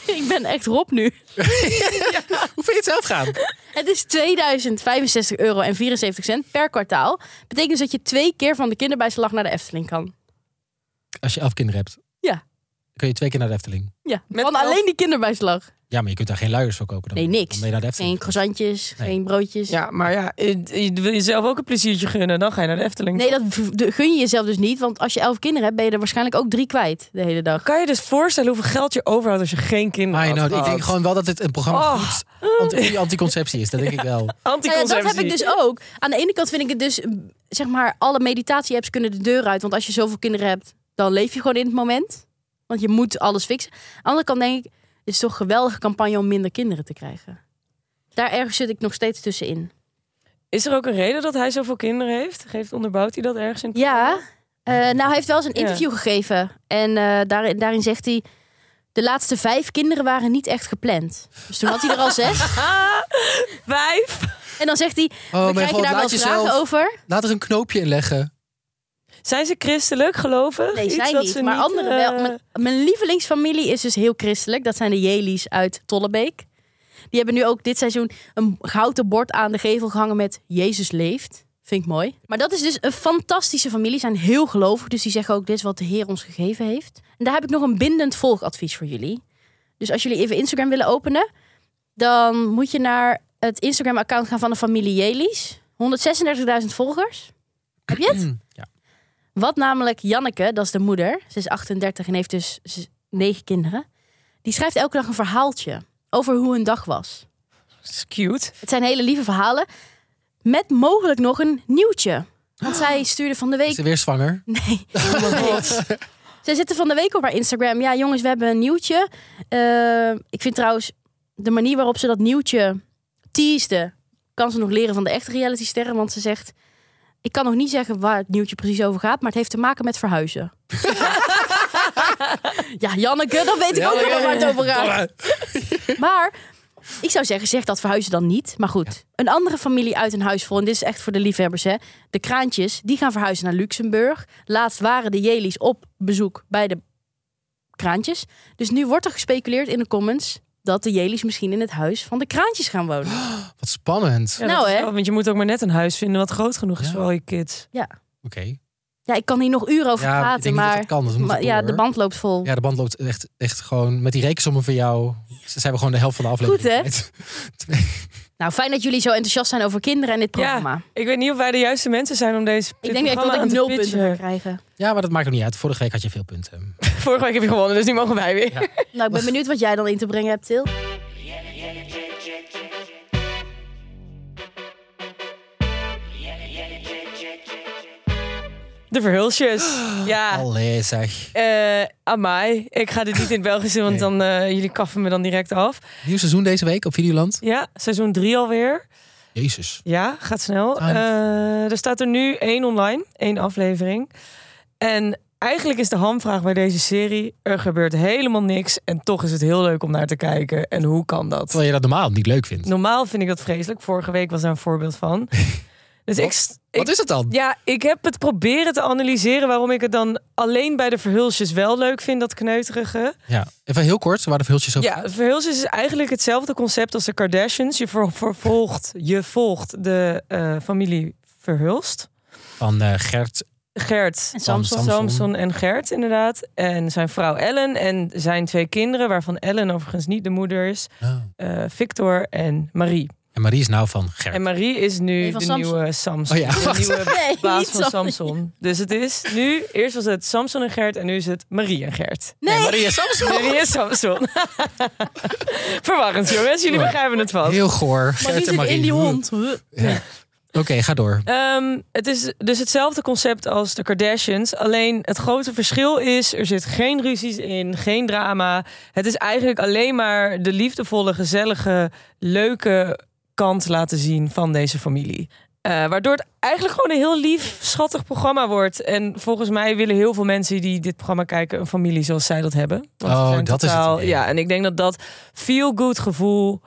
[SPEAKER 3] Ik ben echt Rob nu.
[SPEAKER 1] Hoe vind je het zelf gaan?
[SPEAKER 3] Het is 2065 euro en 74 cent per kwartaal. Betekent dus dat je twee keer van de kinderbijslag naar de Efteling kan.
[SPEAKER 1] Als je elf kinderen hebt.
[SPEAKER 3] Ja.
[SPEAKER 1] Kun je twee keer naar de Efteling.
[SPEAKER 3] Ja,
[SPEAKER 2] Met
[SPEAKER 3] van
[SPEAKER 2] elf-
[SPEAKER 3] alleen die kinderbijslag.
[SPEAKER 1] Ja, maar je kunt daar geen luiers voor kopen. Dan.
[SPEAKER 3] Nee, niks.
[SPEAKER 1] Dan ben je naar de Efteling.
[SPEAKER 3] Geen croissantjes,
[SPEAKER 1] Nee.
[SPEAKER 3] geen broodjes.
[SPEAKER 2] Ja, maar ja, je je wil jezelf ook een pleziertje gunnen. Dan ga je naar de Efteling.
[SPEAKER 3] Nee, dat v- de- gun je jezelf dus niet. Want als je elf kinderen hebt, ben je er waarschijnlijk ook drie kwijt de hele dag.
[SPEAKER 2] Kan je dus voorstellen hoeveel geld je overhoudt als je geen kinderen
[SPEAKER 1] I
[SPEAKER 2] hebt?
[SPEAKER 1] know, ik denk gewoon wel dat dit een programma
[SPEAKER 2] Oh.
[SPEAKER 1] goed anti- anticonceptie is. Dat denk ik
[SPEAKER 3] [LAUGHS]
[SPEAKER 1] wel.
[SPEAKER 3] Nou ja,
[SPEAKER 2] Anticonceptie.
[SPEAKER 3] dat heb ik dus ook. Aan de ene kant vind ik het dus, mm, zeg maar, alle meditatie-apps kunnen de deur uit. Want als je zoveel kinderen hebt, dan leef je gewoon in het moment. Want je moet alles fixen. Aan de andere kant denk ik, het is toch een geweldige campagne om minder kinderen te krijgen. Daar ergens zit ik nog steeds tussenin.
[SPEAKER 2] Is er ook een reden dat hij zoveel kinderen heeft? Geeft, onderbouwt hij dat ergens in? het
[SPEAKER 3] Ja,
[SPEAKER 2] programma?
[SPEAKER 3] eh, nou hij heeft wel eens een
[SPEAKER 2] Ja.
[SPEAKER 3] interview gegeven. En eh, daarin, daarin zegt hij, de laatste vijf kinderen waren niet echt gepland. Dus toen had hij er al zes.
[SPEAKER 2] Vijf.
[SPEAKER 3] En dan zegt hij,
[SPEAKER 1] Oh,
[SPEAKER 3] we
[SPEAKER 1] mijn
[SPEAKER 3] krijgen
[SPEAKER 1] god,
[SPEAKER 3] daar wel
[SPEAKER 1] laat
[SPEAKER 3] eens vragen
[SPEAKER 1] jezelf.
[SPEAKER 3] over.
[SPEAKER 1] Laat er een knoopje in leggen.
[SPEAKER 2] Zijn ze christelijk, gelovig?
[SPEAKER 3] Nee,
[SPEAKER 2] Iets
[SPEAKER 3] zij
[SPEAKER 2] dat
[SPEAKER 3] niet,
[SPEAKER 2] ze
[SPEAKER 3] maar
[SPEAKER 2] niet,
[SPEAKER 3] anderen
[SPEAKER 2] eh,
[SPEAKER 3] wel. Mijn, mijn lievelingsfamilie is dus heel christelijk. Dat zijn de Jelies uit Tollebeek. Die hebben nu ook dit seizoen een houten bord aan de gevel gehangen met Jezus leeft. Vind ik mooi. Maar dat is dus een fantastische familie. Zijn heel gelovig, dus die zeggen ook dit is wat de Heer ons gegeven heeft. En daar heb ik nog een bindend volgadvies voor jullie. Dus als jullie even Instagram willen openen, dan moet je naar het Instagram-account gaan van de familie Jelies. 136.000 volgers. Heb je het?
[SPEAKER 1] Ja.
[SPEAKER 3] Wat namelijk Janneke, dat is de moeder, ze is 38 en heeft dus z- negen kinderen. Die schrijft elke dag een verhaaltje over hoe hun dag was.
[SPEAKER 2] dat is cute.
[SPEAKER 3] Het zijn hele lieve verhalen, met mogelijk nog een nieuwtje. Want zij stuurde van de
[SPEAKER 1] Is
[SPEAKER 3] week.
[SPEAKER 1] ze weer zwanger?
[SPEAKER 3] Nee. Zij zitten van de week op haar Instagram. Ja, jongens, we hebben een nieuwtje. Eh, ik vind trouwens de manier waarop ze dat nieuwtje teasde, kan ze nog leren van de echte realitysterren. Want ze zegt: Ik kan nog niet zeggen waar het nieuwtje precies over gaat, maar het heeft te maken met verhuizen. [LAUGHS] ja, Janneke, dan weet ik ook nog wel waar het over gaat. [LAUGHS] Maar ik zou zeggen, zeg dat verhuizen dan niet. Maar goed, een andere familie uit een huis vol. En dit is echt voor de liefhebbers, hè. De kraantjes, die gaan verhuizen naar Luxemburg. Laatst waren de Jelies op bezoek bij de kraantjes. Dus nu wordt er gespeculeerd in de comments... dat de Jelies misschien in het huis van de kraantjes gaan wonen.
[SPEAKER 1] Wat spannend.
[SPEAKER 2] Ja,
[SPEAKER 3] Nou,
[SPEAKER 2] dat is
[SPEAKER 3] hè?
[SPEAKER 2] wel- want je moet ook maar net een huis vinden wat groot genoeg is
[SPEAKER 1] Ja.
[SPEAKER 2] voor al je kids.
[SPEAKER 1] Oké.
[SPEAKER 3] Ja, ik kan hier nog uren over
[SPEAKER 1] Ja, ik
[SPEAKER 3] praten,
[SPEAKER 1] denk niet dat
[SPEAKER 3] maar...
[SPEAKER 1] het kan. Dat moet
[SPEAKER 3] maar-
[SPEAKER 1] door.
[SPEAKER 3] ja, de band loopt vol.
[SPEAKER 1] Ja, de band loopt echt, echt gewoon met die rekensommen voor jou. Ze ze hebben gewoon de helft van de aflevering.
[SPEAKER 3] Goed, hè?
[SPEAKER 1] kwijt. [LAUGHS]
[SPEAKER 3] Nou, fijn dat jullie zo enthousiast zijn over kinderen en dit programma.
[SPEAKER 2] Ik weet niet of wij de juiste mensen zijn om deze.
[SPEAKER 3] ik denk echt dat ik nul punten ga krijgen.
[SPEAKER 1] Ja, maar dat maakt ook niet uit. Vorige week had je veel punten.
[SPEAKER 2] Vorige week heb je gewonnen, dus nu mogen wij weer.
[SPEAKER 3] Nou, ik ben benieuwd wat jij dan in te brengen hebt, Til.
[SPEAKER 2] De
[SPEAKER 1] [GASPS]
[SPEAKER 2] verhulsjes.
[SPEAKER 3] Ah.
[SPEAKER 2] Ja.
[SPEAKER 1] Allee zeg.
[SPEAKER 2] Eh amai. Ik ga dit niet in het Belgisch doen, want
[SPEAKER 1] Nee.
[SPEAKER 2] dan, eh, jullie kaffen me dan direct af.
[SPEAKER 1] Nieuw seizoen deze week op Videoland.
[SPEAKER 2] Ja, seizoen 3 alweer.
[SPEAKER 1] Jezus.
[SPEAKER 2] Ja, gaat snel.
[SPEAKER 1] Time.
[SPEAKER 2] Eh, er staat er nu één online, één aflevering. En eigenlijk is de hamvraag bij deze serie: er gebeurt helemaal niks. En toch is het heel leuk om naar te kijken. En hoe kan dat?
[SPEAKER 1] Terwijl je dat normaal niet leuk vindt.
[SPEAKER 2] Normaal vind ik dat vreselijk. Vorige week was daar een
[SPEAKER 1] [LAUGHS]
[SPEAKER 2] voorbeeld van. Dus ik, st- ik,
[SPEAKER 1] Wat is het dan?
[SPEAKER 2] ja, ik heb het proberen te analyseren waarom ik het dan alleen bij de verhulsjes wel leuk vind, dat kneuterige.
[SPEAKER 1] Ja. Even heel kort, waar de verhulsjes over
[SPEAKER 2] Ja, verhulsjes is eigenlijk hetzelfde concept als de Kardashians. Je ver- vervolgt, je volgt de eh, familie Verhulst.
[SPEAKER 1] van eh, Gert.
[SPEAKER 2] Gert,
[SPEAKER 3] En
[SPEAKER 1] Samson.
[SPEAKER 3] Samson.
[SPEAKER 2] Samson en Gert inderdaad. En zijn vrouw Ellen en zijn twee kinderen, waarvan Ellen overigens niet de moeder is.
[SPEAKER 1] Oh.
[SPEAKER 2] eh, Victor en Marie.
[SPEAKER 1] En Marie is nou van Gert.
[SPEAKER 2] En Marie is nu
[SPEAKER 3] Nee,
[SPEAKER 2] de
[SPEAKER 3] van Samson.
[SPEAKER 2] nieuwe Samson.
[SPEAKER 1] Oh ja.
[SPEAKER 2] De
[SPEAKER 1] [LAUGHS]
[SPEAKER 2] nieuwe
[SPEAKER 3] Nee,
[SPEAKER 2] baas
[SPEAKER 3] niet
[SPEAKER 2] van
[SPEAKER 3] zo.
[SPEAKER 2] Samson. Dus het is nu, eerst was het Samson en Gert en nu is het Marie en Gert.
[SPEAKER 3] Nee,
[SPEAKER 1] Marie is Samson.
[SPEAKER 2] Marie en Samson. [LAUGHS] Verwarrend jongens, jullie begrijpen het wel.
[SPEAKER 1] Heel goor.
[SPEAKER 3] maar
[SPEAKER 1] Gert
[SPEAKER 3] die
[SPEAKER 1] en
[SPEAKER 3] zit
[SPEAKER 1] Marie.
[SPEAKER 3] in die hond.
[SPEAKER 1] Ja. Oké, ga door.
[SPEAKER 2] Ehm, het is dus hetzelfde concept als de Kardashians. Alleen het grote verschil is, er zit geen ruzies in, geen drama. Het is eigenlijk alleen maar de liefdevolle, gezellige, leuke kant laten zien van deze familie. Eh, waardoor het eigenlijk gewoon een heel lief, schattig programma wordt. En volgens mij willen heel veel mensen die dit programma kijken... een familie zoals zij dat hebben. Want ze
[SPEAKER 1] Oh,
[SPEAKER 2] zijn
[SPEAKER 1] dat is het idee.
[SPEAKER 2] Ja, en ik denk dat dat feel-good gevoel...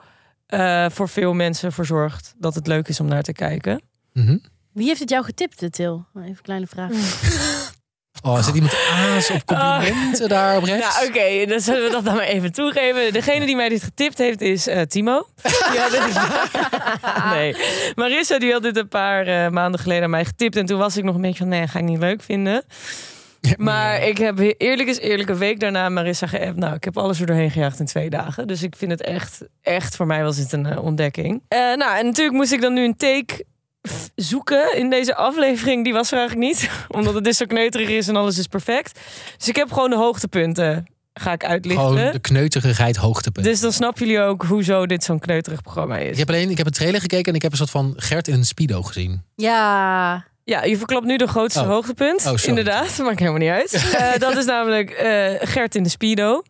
[SPEAKER 2] eh, voor veel mensen voor zorgt dat het leuk is om naar te kijken.
[SPEAKER 1] Mhm.
[SPEAKER 3] Wie heeft het jou getipt, Til? Even een kleine vraag.
[SPEAKER 1] Oh, zit iemand aas op complimenten daar op rechts?
[SPEAKER 2] Nou, oké, dan zullen we dat dan maar even toegeven. Degene die mij dit getipt heeft is eh, Timo. Die had dit- [LAUGHS] nee, Marissa die had dit een paar eh, maanden geleden aan mij getipt. En toen was ik nog een beetje van, nee, ga ik niet leuk vinden. Maar ik heb he- eerlijk is eerlijk een week daarna Marissa geappt. Nou, ik heb alles er doorheen gejaagd in twee dagen. Dus ik vind het echt, echt voor mij was dit een eh, ontdekking. Eh, nou, en natuurlijk moest ik dan nu een take f- zoeken in deze aflevering. Die was er eigenlijk niet. [LAUGHS] Omdat het dus zo kneuterig is en alles is perfect. Dus ik heb gewoon de hoogtepunten ga ik uitlichten.
[SPEAKER 1] Gewoon de kneuterigheid hoogtepunt.
[SPEAKER 2] Dus dan snappen jullie ook hoezo dit zo'n kneuterig programma
[SPEAKER 1] Ik
[SPEAKER 2] is.
[SPEAKER 1] heb alleen ik heb een trailer gekeken en ik heb een soort van Gert in een speedo gezien.
[SPEAKER 3] Ja,
[SPEAKER 2] Ja, je verklapt nu de grootste
[SPEAKER 1] Oh.
[SPEAKER 2] hoogtepunt.
[SPEAKER 1] sorry.
[SPEAKER 2] Inderdaad, maakt helemaal niet
[SPEAKER 1] [LAUGHS]
[SPEAKER 2] uit. Eh, dat is namelijk eh, Gert in de Speedo.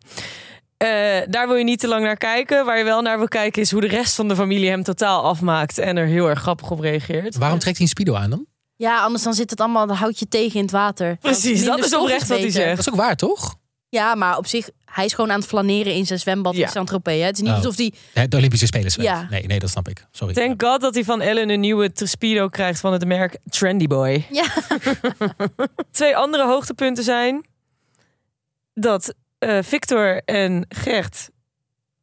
[SPEAKER 2] Eh, daar wil je niet te lang naar kijken. Waar je wel naar wil kijken is hoe de rest van de familie hem totaal afmaakt. En er heel erg grappig op reageert.
[SPEAKER 1] Waarom trekt hij een speedo aan dan?
[SPEAKER 3] ja anders dan zit het allemaal, dan houd je tegen in het water.
[SPEAKER 2] Precies, dat
[SPEAKER 3] Minder
[SPEAKER 2] is oprecht wat hij
[SPEAKER 3] stofjes beter.
[SPEAKER 1] Dat
[SPEAKER 2] zegt.
[SPEAKER 1] is ook waar, toch?
[SPEAKER 3] Ja, maar op zich, hij is gewoon aan het flaneren in zijn zwembad
[SPEAKER 2] Ja.
[SPEAKER 3] in Saint-Tropez. hè. Het is niet
[SPEAKER 1] Oh.
[SPEAKER 3] alsof die
[SPEAKER 1] Nee, De Olympische Spelen. zwemt.
[SPEAKER 3] Ja.
[SPEAKER 1] Nee, nee, dat snap ik. Sorry.
[SPEAKER 2] Thank God dat hij van Ellen een nieuwe t- Speedo krijgt van het merk Trendy Boy.
[SPEAKER 3] Ja.
[SPEAKER 2] [LAUGHS] Twee andere hoogtepunten zijn dat eh, Victor en Gert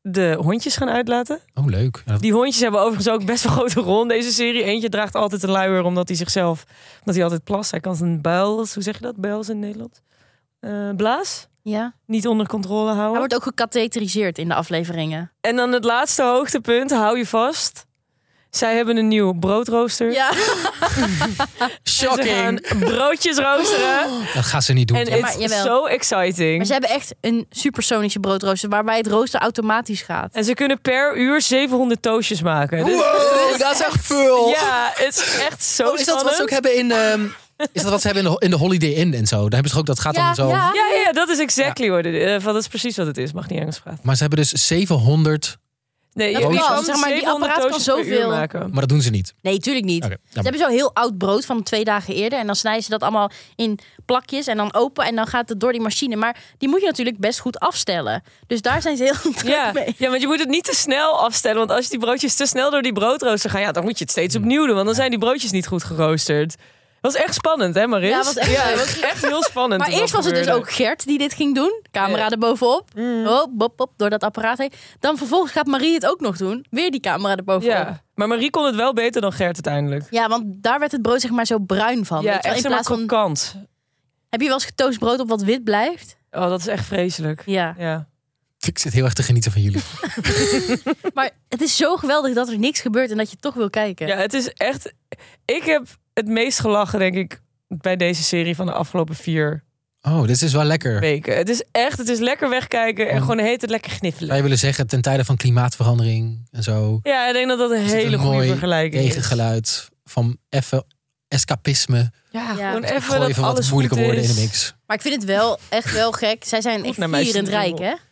[SPEAKER 2] de hondjes gaan uitlaten.
[SPEAKER 1] Oh, leuk. Ja, dat-
[SPEAKER 2] Die hondjes hebben overigens ook best wel [LAUGHS] een grote rol in deze serie. Eentje draagt altijd een luier omdat hij zichzelf, omdat hij altijd plast. Hij kan zijn buils, hoe zeg je dat? Buils in Nederland? Eh, blaas?
[SPEAKER 3] Ja.
[SPEAKER 2] Niet onder controle
[SPEAKER 3] Hij
[SPEAKER 2] houden.
[SPEAKER 3] wordt ook gecatheteriseerd in de afleveringen.
[SPEAKER 2] En dan het laatste hoogtepunt, hou je vast. Zij hebben een nieuw broodrooster.
[SPEAKER 3] Ja.
[SPEAKER 2] Ze gaan broodjes
[SPEAKER 3] [GASPS]
[SPEAKER 2] roosteren.
[SPEAKER 1] Dat gaan ze niet doen.
[SPEAKER 2] En
[SPEAKER 1] toch?
[SPEAKER 3] maar
[SPEAKER 2] it's
[SPEAKER 3] jawel.
[SPEAKER 2] so exciting.
[SPEAKER 3] Maar ze hebben echt een supersonische broodrooster waarbij het rooster automatisch gaat.
[SPEAKER 2] En ze kunnen per uur 700 toastjes maken. Dus-
[SPEAKER 1] Wow, dat is echt veel.
[SPEAKER 2] ja, het is echt zo
[SPEAKER 3] dus
[SPEAKER 1] Oh, is dat wat ze ook
[SPEAKER 2] spannend.
[SPEAKER 1] hebben in, ehm, is dat wat ze hebben in de, in de Holiday Inn en zo? Daar hebben ze toch ook dat gaat
[SPEAKER 3] Ja,
[SPEAKER 1] dan zo.
[SPEAKER 3] ja.
[SPEAKER 2] Ja, ja, ja, dat is exactly what it is. Eh, Dat is precies wat het is. Mag niet Engels praten.
[SPEAKER 1] Maar ze hebben dus 700,
[SPEAKER 2] Nee,
[SPEAKER 3] Dat
[SPEAKER 2] je
[SPEAKER 1] kan,
[SPEAKER 2] kan
[SPEAKER 3] zeg maar, die
[SPEAKER 2] 700
[SPEAKER 3] apparaat kan
[SPEAKER 2] toastjes per uur
[SPEAKER 3] zoveel.
[SPEAKER 2] maken.
[SPEAKER 1] maar dat doen ze niet.
[SPEAKER 3] Nee, tuurlijk niet.
[SPEAKER 1] Oké,
[SPEAKER 3] Ze hebben zo heel oud brood van twee dagen eerder. En dan snijden ze dat allemaal in plakjes en dan open. En dan gaat het door die machine. Maar die moet je natuurlijk best goed afstellen. Dus daar zijn ze heel [LAUGHS] druk
[SPEAKER 2] Ja,
[SPEAKER 3] mee.
[SPEAKER 2] ja, want je moet het niet te snel afstellen. Want als je die broodjes te snel door die broodrooster gaan... Ja, dan moet je het steeds
[SPEAKER 3] Hmm.
[SPEAKER 2] opnieuw doen. Want dan zijn die broodjes niet goed geroosterd. Dat was echt spannend, hè Maris?
[SPEAKER 3] Ja, was echt leuk.
[SPEAKER 2] was echt heel spannend.
[SPEAKER 3] Maar
[SPEAKER 2] toen dat
[SPEAKER 3] eerst was het dus
[SPEAKER 2] gebeurde.
[SPEAKER 3] ook Gert die dit ging doen. Camera
[SPEAKER 2] Ja. Mm.
[SPEAKER 3] erbovenop. Hop, hop, hop, door dat apparaat heen. Dan vervolgens gaat Marie het ook nog doen. Weer die camera erbovenop.
[SPEAKER 2] Ja,
[SPEAKER 3] Ja.
[SPEAKER 2] maar Marie kon het wel beter dan Gert uiteindelijk.
[SPEAKER 3] want daar werd het brood zeg maar zo bruin van.
[SPEAKER 2] Ja,
[SPEAKER 3] weet je wel,
[SPEAKER 2] echt helemaal
[SPEAKER 3] in plaats van,
[SPEAKER 2] krokant.
[SPEAKER 3] heb je wel eens getoast brood op wat wit blijft?
[SPEAKER 2] Oh, dat is echt vreselijk.
[SPEAKER 3] Ja.
[SPEAKER 2] Ja.
[SPEAKER 1] Ik zit heel erg te genieten van jullie.
[SPEAKER 3] Maar het is zo geweldig dat er niks gebeurt en dat je toch wil kijken.
[SPEAKER 2] ja, het is echt... Ik heb het meest gelachen, denk ik, bij deze serie van de afgelopen vier
[SPEAKER 1] Oh, dit is wel lekker.
[SPEAKER 2] weken. Het is echt, het is lekker wegkijken en
[SPEAKER 1] Mm.
[SPEAKER 2] gewoon heet het lekker gniffelen.
[SPEAKER 1] Wij willen zeggen ten tijde van klimaatverandering en zo.
[SPEAKER 2] Ja, ik denk dat dat een
[SPEAKER 1] is het
[SPEAKER 2] hele
[SPEAKER 1] een
[SPEAKER 2] goede
[SPEAKER 1] mooi
[SPEAKER 2] vergelijking is.
[SPEAKER 1] Tegengeluid van even escapisme.
[SPEAKER 2] Ja,
[SPEAKER 3] Ja.
[SPEAKER 2] gewoon
[SPEAKER 3] Gooi
[SPEAKER 2] even
[SPEAKER 1] Gooi
[SPEAKER 2] dat
[SPEAKER 1] even wat
[SPEAKER 2] alles
[SPEAKER 1] moeilijke
[SPEAKER 2] goed
[SPEAKER 1] woorden
[SPEAKER 2] is.
[SPEAKER 1] in de mix.
[SPEAKER 3] Maar ik vind het wel echt wel gek. Zij zijn echt
[SPEAKER 2] naar mij is
[SPEAKER 3] vierend
[SPEAKER 2] het niet
[SPEAKER 3] rijk, hè?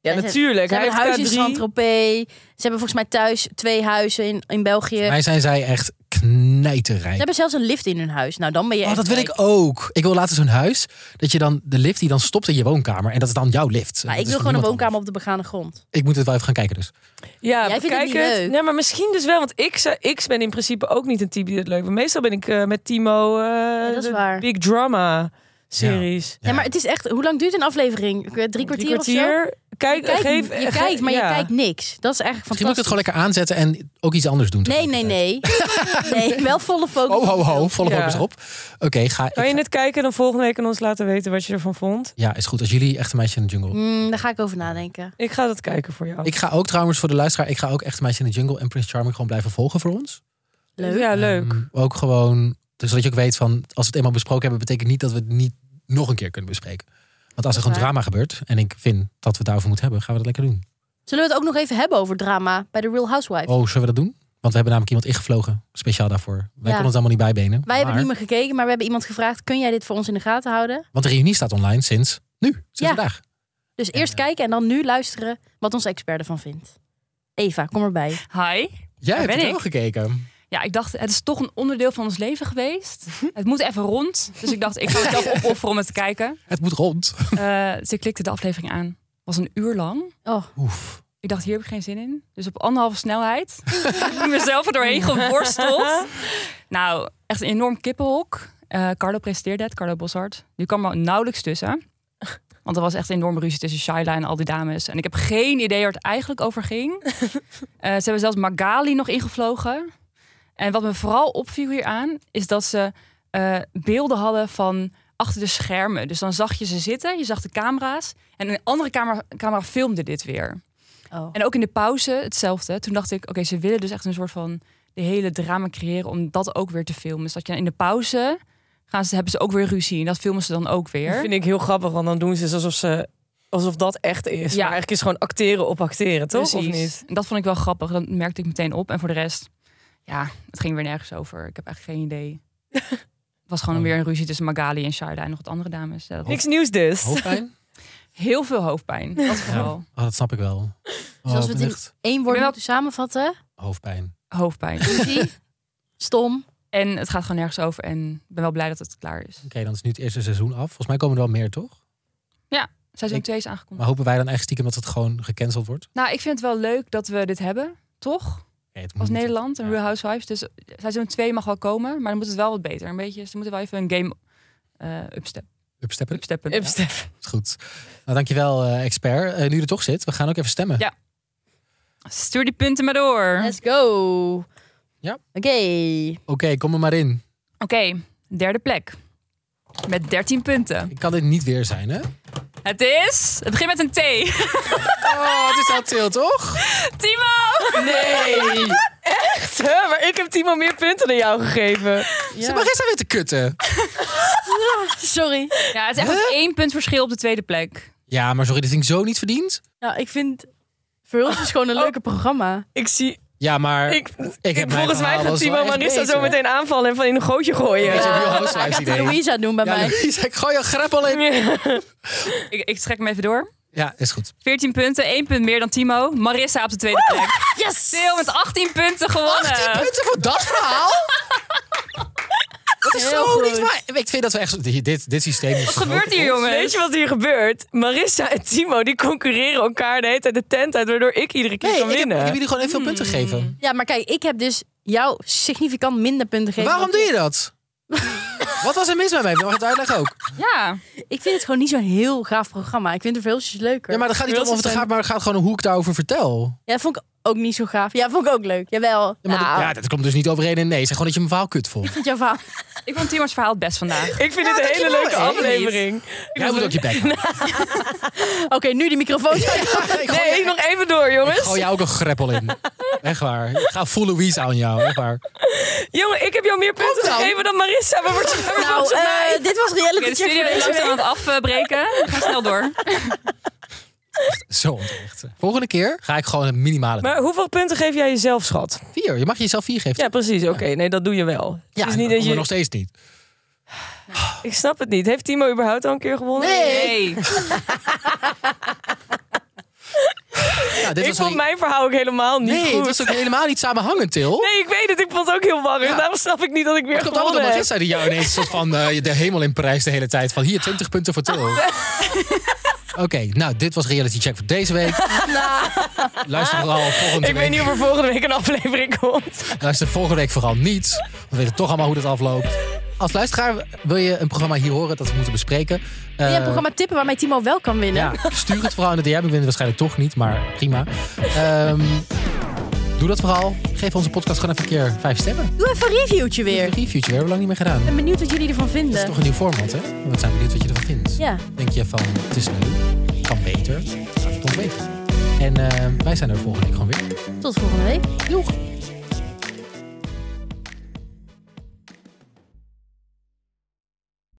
[SPEAKER 2] Ja,
[SPEAKER 3] Zij-
[SPEAKER 2] natuurlijk.
[SPEAKER 3] Ze
[SPEAKER 2] Hij
[SPEAKER 3] hebben een huis in
[SPEAKER 2] heeft K3.
[SPEAKER 3] Saint-Tropez. Ze hebben volgens mij thuis twee huizen in, in België. Ze
[SPEAKER 1] Wij zijn zij echt knijterrijk.
[SPEAKER 3] hebben zelfs een lift in hun huis. Nou, dan ben je
[SPEAKER 1] Oh,
[SPEAKER 3] echt
[SPEAKER 1] dat wil
[SPEAKER 3] rijk.
[SPEAKER 1] ik ook. Ik wil later zo'n huis dat je dan de lift die dan stopt in je woonkamer en dat is dan jouw lift.
[SPEAKER 3] Maar
[SPEAKER 1] Dat
[SPEAKER 3] ik
[SPEAKER 1] is van
[SPEAKER 3] wil gewoon een
[SPEAKER 1] niemand
[SPEAKER 3] woonkamer
[SPEAKER 1] anders.
[SPEAKER 3] op de begane grond.
[SPEAKER 1] Ik moet het wel even gaan kijken dus.
[SPEAKER 2] Ja,
[SPEAKER 3] Jij vindt het
[SPEAKER 2] bekijk
[SPEAKER 3] niet
[SPEAKER 2] het.
[SPEAKER 3] leuk.
[SPEAKER 2] Nee, maar misschien dus wel. Want ik, zou- ik ben in principe ook niet een type die het leuk vindt. Meestal ben ik eh, met Timo eh,
[SPEAKER 3] dat is
[SPEAKER 2] de
[SPEAKER 3] waar.
[SPEAKER 2] Big Drama series.
[SPEAKER 3] Ja. maar het is echt... Hoe lang duurt een aflevering? Ik weet, Drie kwartier,
[SPEAKER 2] Drie
[SPEAKER 3] of zo?
[SPEAKER 2] kwartier. Kijk,
[SPEAKER 3] Je kijkt,
[SPEAKER 2] geef,
[SPEAKER 3] je
[SPEAKER 2] ge-
[SPEAKER 3] kijkt, maar
[SPEAKER 2] ja.
[SPEAKER 3] je kijkt niks. Dat is eigenlijk
[SPEAKER 1] Misschien moet ik het
[SPEAKER 3] fantastisch.
[SPEAKER 1] gewoon lekker aanzetten en ook iets anders doen.
[SPEAKER 3] Nee, nee, nee. nee,
[SPEAKER 1] [LAUGHS]
[SPEAKER 3] wel volle focus.
[SPEAKER 1] Oh, ho, ho. Volle
[SPEAKER 2] Ja.
[SPEAKER 1] focus erop. Oké, ga.
[SPEAKER 2] Kan je
[SPEAKER 1] ik-
[SPEAKER 2] het kijken en dan volgende week aan ons laten weten wat je ervan vond?
[SPEAKER 1] Ja, is goed. Als jullie echt een meisje in de jungle.
[SPEAKER 3] Mm, daar ga ik over nadenken.
[SPEAKER 2] Ik ga dat kijken voor
[SPEAKER 3] Oh.
[SPEAKER 2] jou.
[SPEAKER 1] Ik ga ook trouwens voor de luisteraar. Ik ga ook echt een meisje in de jungle en Prince Charming gewoon blijven volgen voor ons.
[SPEAKER 3] Leuk.
[SPEAKER 2] Ja, leuk.
[SPEAKER 1] Ehm, ook gewoon. Dus zodat je ook weet van. Als we het eenmaal besproken hebben, betekent niet dat we het niet nog een keer kunnen bespreken. Want als er gewoon
[SPEAKER 3] waar.
[SPEAKER 1] drama gebeurt en ik vind dat we het daarover moeten hebben, gaan we dat lekker doen.
[SPEAKER 3] Zullen we het ook nog even hebben over drama bij The Real Housewives?
[SPEAKER 1] Oh, zullen we dat doen? Want we hebben namelijk iemand ingevlogen, speciaal daarvoor. Wij konden het allemaal niet bijbenen.
[SPEAKER 3] Wij hebben
[SPEAKER 1] maar-
[SPEAKER 3] niet meer gekeken, maar we hebben iemand gevraagd... kun jij dit voor ons in de gaten houden?
[SPEAKER 1] Want de reunie staat online sinds nu, sinds
[SPEAKER 3] Ja.
[SPEAKER 1] vandaag.
[SPEAKER 3] Dus eerst kijken en dan nu luisteren wat onze expert ervan vindt. Eva, kom erbij.
[SPEAKER 10] Hi.
[SPEAKER 1] Jij
[SPEAKER 10] Daar
[SPEAKER 1] hebt
[SPEAKER 10] ben
[SPEAKER 1] het wel gekeken.
[SPEAKER 10] Ja, ik dacht, het is toch een onderdeel van ons leven geweest.
[SPEAKER 2] Mhm.
[SPEAKER 10] Het moet even rond. Dus ik dacht, ik ga
[SPEAKER 2] [LAUGHS]
[SPEAKER 10] mezelf opofferen om het te kijken.
[SPEAKER 1] Het moet
[SPEAKER 3] [LAUGHS]
[SPEAKER 1] rond.
[SPEAKER 10] Eh, dus ik klikte de aflevering aan. was een uur lang.
[SPEAKER 3] Oh,
[SPEAKER 1] Oef.
[SPEAKER 10] Ik dacht, hier heb ik geen zin in. Dus op anderhalve snelheid heb ik mezelf er doorheen geworsteld. Nou, echt een enorm kippenhok. Eh, Carlo presenteerde het, Carlo Bossard. Die kwam er nauwelijks tussen. Want er was echt een enorme ruzie tussen Shaila en al die dames. En ik heb geen idee waar het eigenlijk over ging. Eh, ze hebben zelfs Magali nog ingevlogen. En wat me vooral opviel hieraan, is dat ze eh, beelden hadden van achter de schermen. Dus dan zag je ze zitten, je zag de camera's. En een andere camera, camera filmde dit weer.
[SPEAKER 3] oh.
[SPEAKER 10] En ook in de pauze hetzelfde. Toen dacht ik, oké, ze willen dus echt een soort van de hele drama creëren om dat ook weer te filmen. Dus dat je in de pauze gaan ze, hebben ze ook weer ruzie en dat filmen ze dan ook
[SPEAKER 2] Dat
[SPEAKER 10] weer.
[SPEAKER 2] vind ik heel grappig, want dan doen ze het alsof, ze, alsof dat echt is. Ja. Maar eigenlijk is het gewoon acteren op acteren, toch? Of niet?
[SPEAKER 10] En dat vond ik wel grappig. Dat merkte ik meteen op. En voor de rest, ja, het ging weer nergens over. Ik heb echt geen idee. Het was gewoon weer een ruzie tussen Magali en Shaila en nog wat andere dames. Ja, dat-
[SPEAKER 2] Niks nieuws dus.
[SPEAKER 1] Hoofdpijn?
[SPEAKER 10] Heel veel hoofdpijn. Dat vooral.
[SPEAKER 1] Oh, dat snap ik wel. Oh,
[SPEAKER 3] als we
[SPEAKER 1] ik
[SPEAKER 3] het
[SPEAKER 1] ben
[SPEAKER 3] in-
[SPEAKER 1] echt
[SPEAKER 3] Eén woord
[SPEAKER 10] wel-
[SPEAKER 3] moeten samenvatten.
[SPEAKER 1] hoofdpijn.
[SPEAKER 10] Hoofdpijn.
[SPEAKER 1] [LAUGHS]
[SPEAKER 3] Ruzie. Stom.
[SPEAKER 10] En het gaat gewoon nergens over. En ik ben wel blij dat het klaar is.
[SPEAKER 1] Oké, dan is nu het eerste seizoen af. Volgens mij komen er wel meer, toch?
[SPEAKER 10] Seizoen
[SPEAKER 1] Ik-
[SPEAKER 10] 2 is aangekondigd.
[SPEAKER 1] Maar hopen wij dan echt stiekem dat het gewoon gecanceld wordt?
[SPEAKER 10] Nou, ik vind het wel leuk dat we dit hebben, toch?
[SPEAKER 1] Nee, het moet
[SPEAKER 10] Als
[SPEAKER 1] niet.
[SPEAKER 10] Nederland en
[SPEAKER 1] Mhm. Ja.
[SPEAKER 10] Real Housewives. Dus seizoen 2 mag wel komen, maar dan moet het wel wat beter. Een beetje, ze moeten wel even een game eh upstep,
[SPEAKER 1] Upsteppen,
[SPEAKER 10] upsteppen.
[SPEAKER 2] Up, Stef.
[SPEAKER 1] is goed. Nou, dankjewel eh, expert. Eh, nu je er toch zit, we gaan ook even stemmen.
[SPEAKER 10] Ja. Stuur die punten maar door.
[SPEAKER 3] Let's go.
[SPEAKER 1] Ja.
[SPEAKER 3] Oké.
[SPEAKER 1] Oké, kom er maar in.
[SPEAKER 10] Oké, derde plek. Met 13 punten.
[SPEAKER 1] Ik kan dit niet weer zijn, hè?
[SPEAKER 10] Het is... Het begint met een T. [LAUGHS]
[SPEAKER 1] Oh, het is al til, toch?
[SPEAKER 10] Timo!
[SPEAKER 1] Nee!
[SPEAKER 2] Hè, [LAUGHS] maar ik heb Timo meer punten dan jou gegeven.
[SPEAKER 1] Ze mag eens aan weer te kutten.
[SPEAKER 3] Sorry.
[SPEAKER 10] Ja, het is echt ook één punt verschil op de tweede plek.
[SPEAKER 1] Ja, maar sorry, dit vind ik zo niet verdiend.
[SPEAKER 3] Nou, ik vind... Verhulst is
[SPEAKER 1] [LAUGHS]
[SPEAKER 3] gewoon een leuke programma.
[SPEAKER 2] Ik zie...
[SPEAKER 1] Oh. Ja, maar
[SPEAKER 2] Ik,
[SPEAKER 1] heb mijn
[SPEAKER 2] volgens mij
[SPEAKER 1] verhaal wel
[SPEAKER 2] gaat
[SPEAKER 1] zo
[SPEAKER 2] Timo
[SPEAKER 1] echt
[SPEAKER 2] Marissa
[SPEAKER 1] beter.
[SPEAKER 2] zo meteen aanvallen en van in een gootje gooien.
[SPEAKER 1] Beetje
[SPEAKER 2] Ja.
[SPEAKER 1] Real Housewives
[SPEAKER 3] De
[SPEAKER 1] idee.
[SPEAKER 3] Louisa doen bij
[SPEAKER 1] Ja,
[SPEAKER 3] mij.
[SPEAKER 1] Louise, ik gooi een greppel in.
[SPEAKER 10] Ik, ik trek hem even door.
[SPEAKER 1] Ja, is goed.
[SPEAKER 10] 14 punten, één punt meer dan Timo. Marissa op de tweede plek.
[SPEAKER 3] Yes!
[SPEAKER 10] Theo met 18 punten gewonnen.
[SPEAKER 1] 18 punten voor dat verhaal? Dat is zo
[SPEAKER 3] Heel goed.
[SPEAKER 1] niet waar. Ik vind dat we echt... zo- Dit, dit systeem is...
[SPEAKER 10] Wat gebeurt hier, jongens?
[SPEAKER 2] Weet je wat hier gebeurt? Marissa en Timo die concurreren elkaar de hele tijd de tent uit, waardoor ik iedere keer
[SPEAKER 1] Nee,
[SPEAKER 2] kan
[SPEAKER 1] ik heb, ik
[SPEAKER 2] winnen.
[SPEAKER 1] heb jullie gewoon even veel
[SPEAKER 2] Hmm.
[SPEAKER 1] punten gegeven.
[SPEAKER 3] Ja, maar kijk, ik heb dus jou significant minder punten gegeven.
[SPEAKER 1] Waarom doe je
[SPEAKER 2] [LAUGHS]
[SPEAKER 1] dat? Wat was er mis met mij? Mag je het uitleggen ook?
[SPEAKER 10] Ja.
[SPEAKER 3] Ik vind het gewoon niet zo'n heel gaaf programma. Ik vind de Verhulstjes leuker.
[SPEAKER 1] Ja, maar dat gaat niet om of het gaat, maar het gaat gewoon hoe ik daarover vertel.
[SPEAKER 3] Ja, vond ik ook niet zo gaaf. Ja, vond ik ook leuk. Jawel.
[SPEAKER 1] Ja, maar dat-
[SPEAKER 3] Nou,
[SPEAKER 1] ja, dat komt dus niet overeen in nee. Zeg gewoon dat je mijn verhaal kut
[SPEAKER 2] [LAUGHS]
[SPEAKER 1] vond.
[SPEAKER 3] ik vind jouw verhaal.
[SPEAKER 10] Ik vond Timo's verhaal het best vandaag.
[SPEAKER 2] Ik vind dit een hele leuke
[SPEAKER 1] dankjewel.
[SPEAKER 2] aflevering.
[SPEAKER 1] Jij moet ook je bek houden.
[SPEAKER 3] Oké, nu die
[SPEAKER 1] [LAUGHS]
[SPEAKER 3] microfoon. Nou,
[SPEAKER 1] Ik gooi-
[SPEAKER 2] [LAUGHS] Nee, nog even door, jongens.
[SPEAKER 1] gooi jou ook een greppel in.
[SPEAKER 2] [LAUGHS]
[SPEAKER 1] Echt waar. Ik ga full Louise aan jou. Echt waar.
[SPEAKER 2] Jongen, ik heb jou meer punten
[SPEAKER 1] dan.
[SPEAKER 2] gegeven dan Marissa. We worden
[SPEAKER 1] [LAUGHS]
[SPEAKER 2] we
[SPEAKER 3] Nou,
[SPEAKER 2] volgens mij.
[SPEAKER 3] eh, dit was
[SPEAKER 10] Oké,
[SPEAKER 1] dus
[SPEAKER 3] reality
[SPEAKER 10] de
[SPEAKER 3] check
[SPEAKER 10] studio
[SPEAKER 3] voor
[SPEAKER 10] is
[SPEAKER 3] deze
[SPEAKER 10] langzaam
[SPEAKER 3] week.
[SPEAKER 10] aan het afbreken. We gaan snel door.
[SPEAKER 1] Zo onterecht. Volgende keer ga ik gewoon een minimale doen.
[SPEAKER 2] Maar hoeveel punten geef jij jezelf, schat?
[SPEAKER 1] vier. Je mag jezelf vier geven.
[SPEAKER 2] Ja, precies. Oké, nee, dat doe je wel.
[SPEAKER 1] Ja,
[SPEAKER 2] het is niet
[SPEAKER 1] maar
[SPEAKER 2] dat je...
[SPEAKER 1] nog steeds niet.
[SPEAKER 2] Ik snap het niet. Heeft Timo überhaupt al een keer gewonnen?
[SPEAKER 10] Nee.
[SPEAKER 1] Ja, dit
[SPEAKER 2] Ik
[SPEAKER 1] was
[SPEAKER 2] vond
[SPEAKER 1] al-
[SPEAKER 2] mijn verhaal ook helemaal niet
[SPEAKER 1] Nee, het
[SPEAKER 2] goed.
[SPEAKER 1] was ook helemaal niet samenhangend, Til.
[SPEAKER 2] Nee, ik weet het. Ik vond het ook heel warm.
[SPEAKER 1] Ja.
[SPEAKER 2] Daarom snap ik niet dat ik weer
[SPEAKER 1] Het komt allemaal door
[SPEAKER 2] gewonnen
[SPEAKER 1] Marissa
[SPEAKER 2] heb.
[SPEAKER 1] die jou ineens een soort van eh, de hemel in prijs de hele tijd. Van hier, 20 punten voor Til. Oké, nou, dit was Reality Check voor deze week. Luister vooral volgende
[SPEAKER 2] Ik
[SPEAKER 1] week.
[SPEAKER 2] weet niet of er volgende week een aflevering komt.
[SPEAKER 1] Luister volgende week vooral niet. want We weten toch allemaal hoe dat afloopt. Als luisteraar wil je een programma hier horen dat we moeten bespreken.
[SPEAKER 3] Wil je
[SPEAKER 1] Eh,
[SPEAKER 3] een programma tippen waarmee Timo wel kan winnen?
[SPEAKER 1] Ja, stuur het vooral in de DM. Ik win het waarschijnlijk toch niet, maar prima. Ehm, doe dat vooral. Geef onze podcast gewoon even een keer vijf sterren.
[SPEAKER 3] Doe even een reviewtje weer.
[SPEAKER 1] Een
[SPEAKER 3] Ik
[SPEAKER 1] reviewtje, we hebben we lang niet meer gedaan.
[SPEAKER 3] ben benieuwd wat jullie ervan
[SPEAKER 1] Dat is
[SPEAKER 3] vinden.
[SPEAKER 1] toch een nieuw format, hè? We zijn benieuwd wat je ervan vindt.
[SPEAKER 3] Ja.
[SPEAKER 1] Denk je van, het is leuk, kan beter, laat het ons weten. En eh, wij zijn er volgende week gewoon weer.
[SPEAKER 3] Tot volgende week.
[SPEAKER 1] Doeg!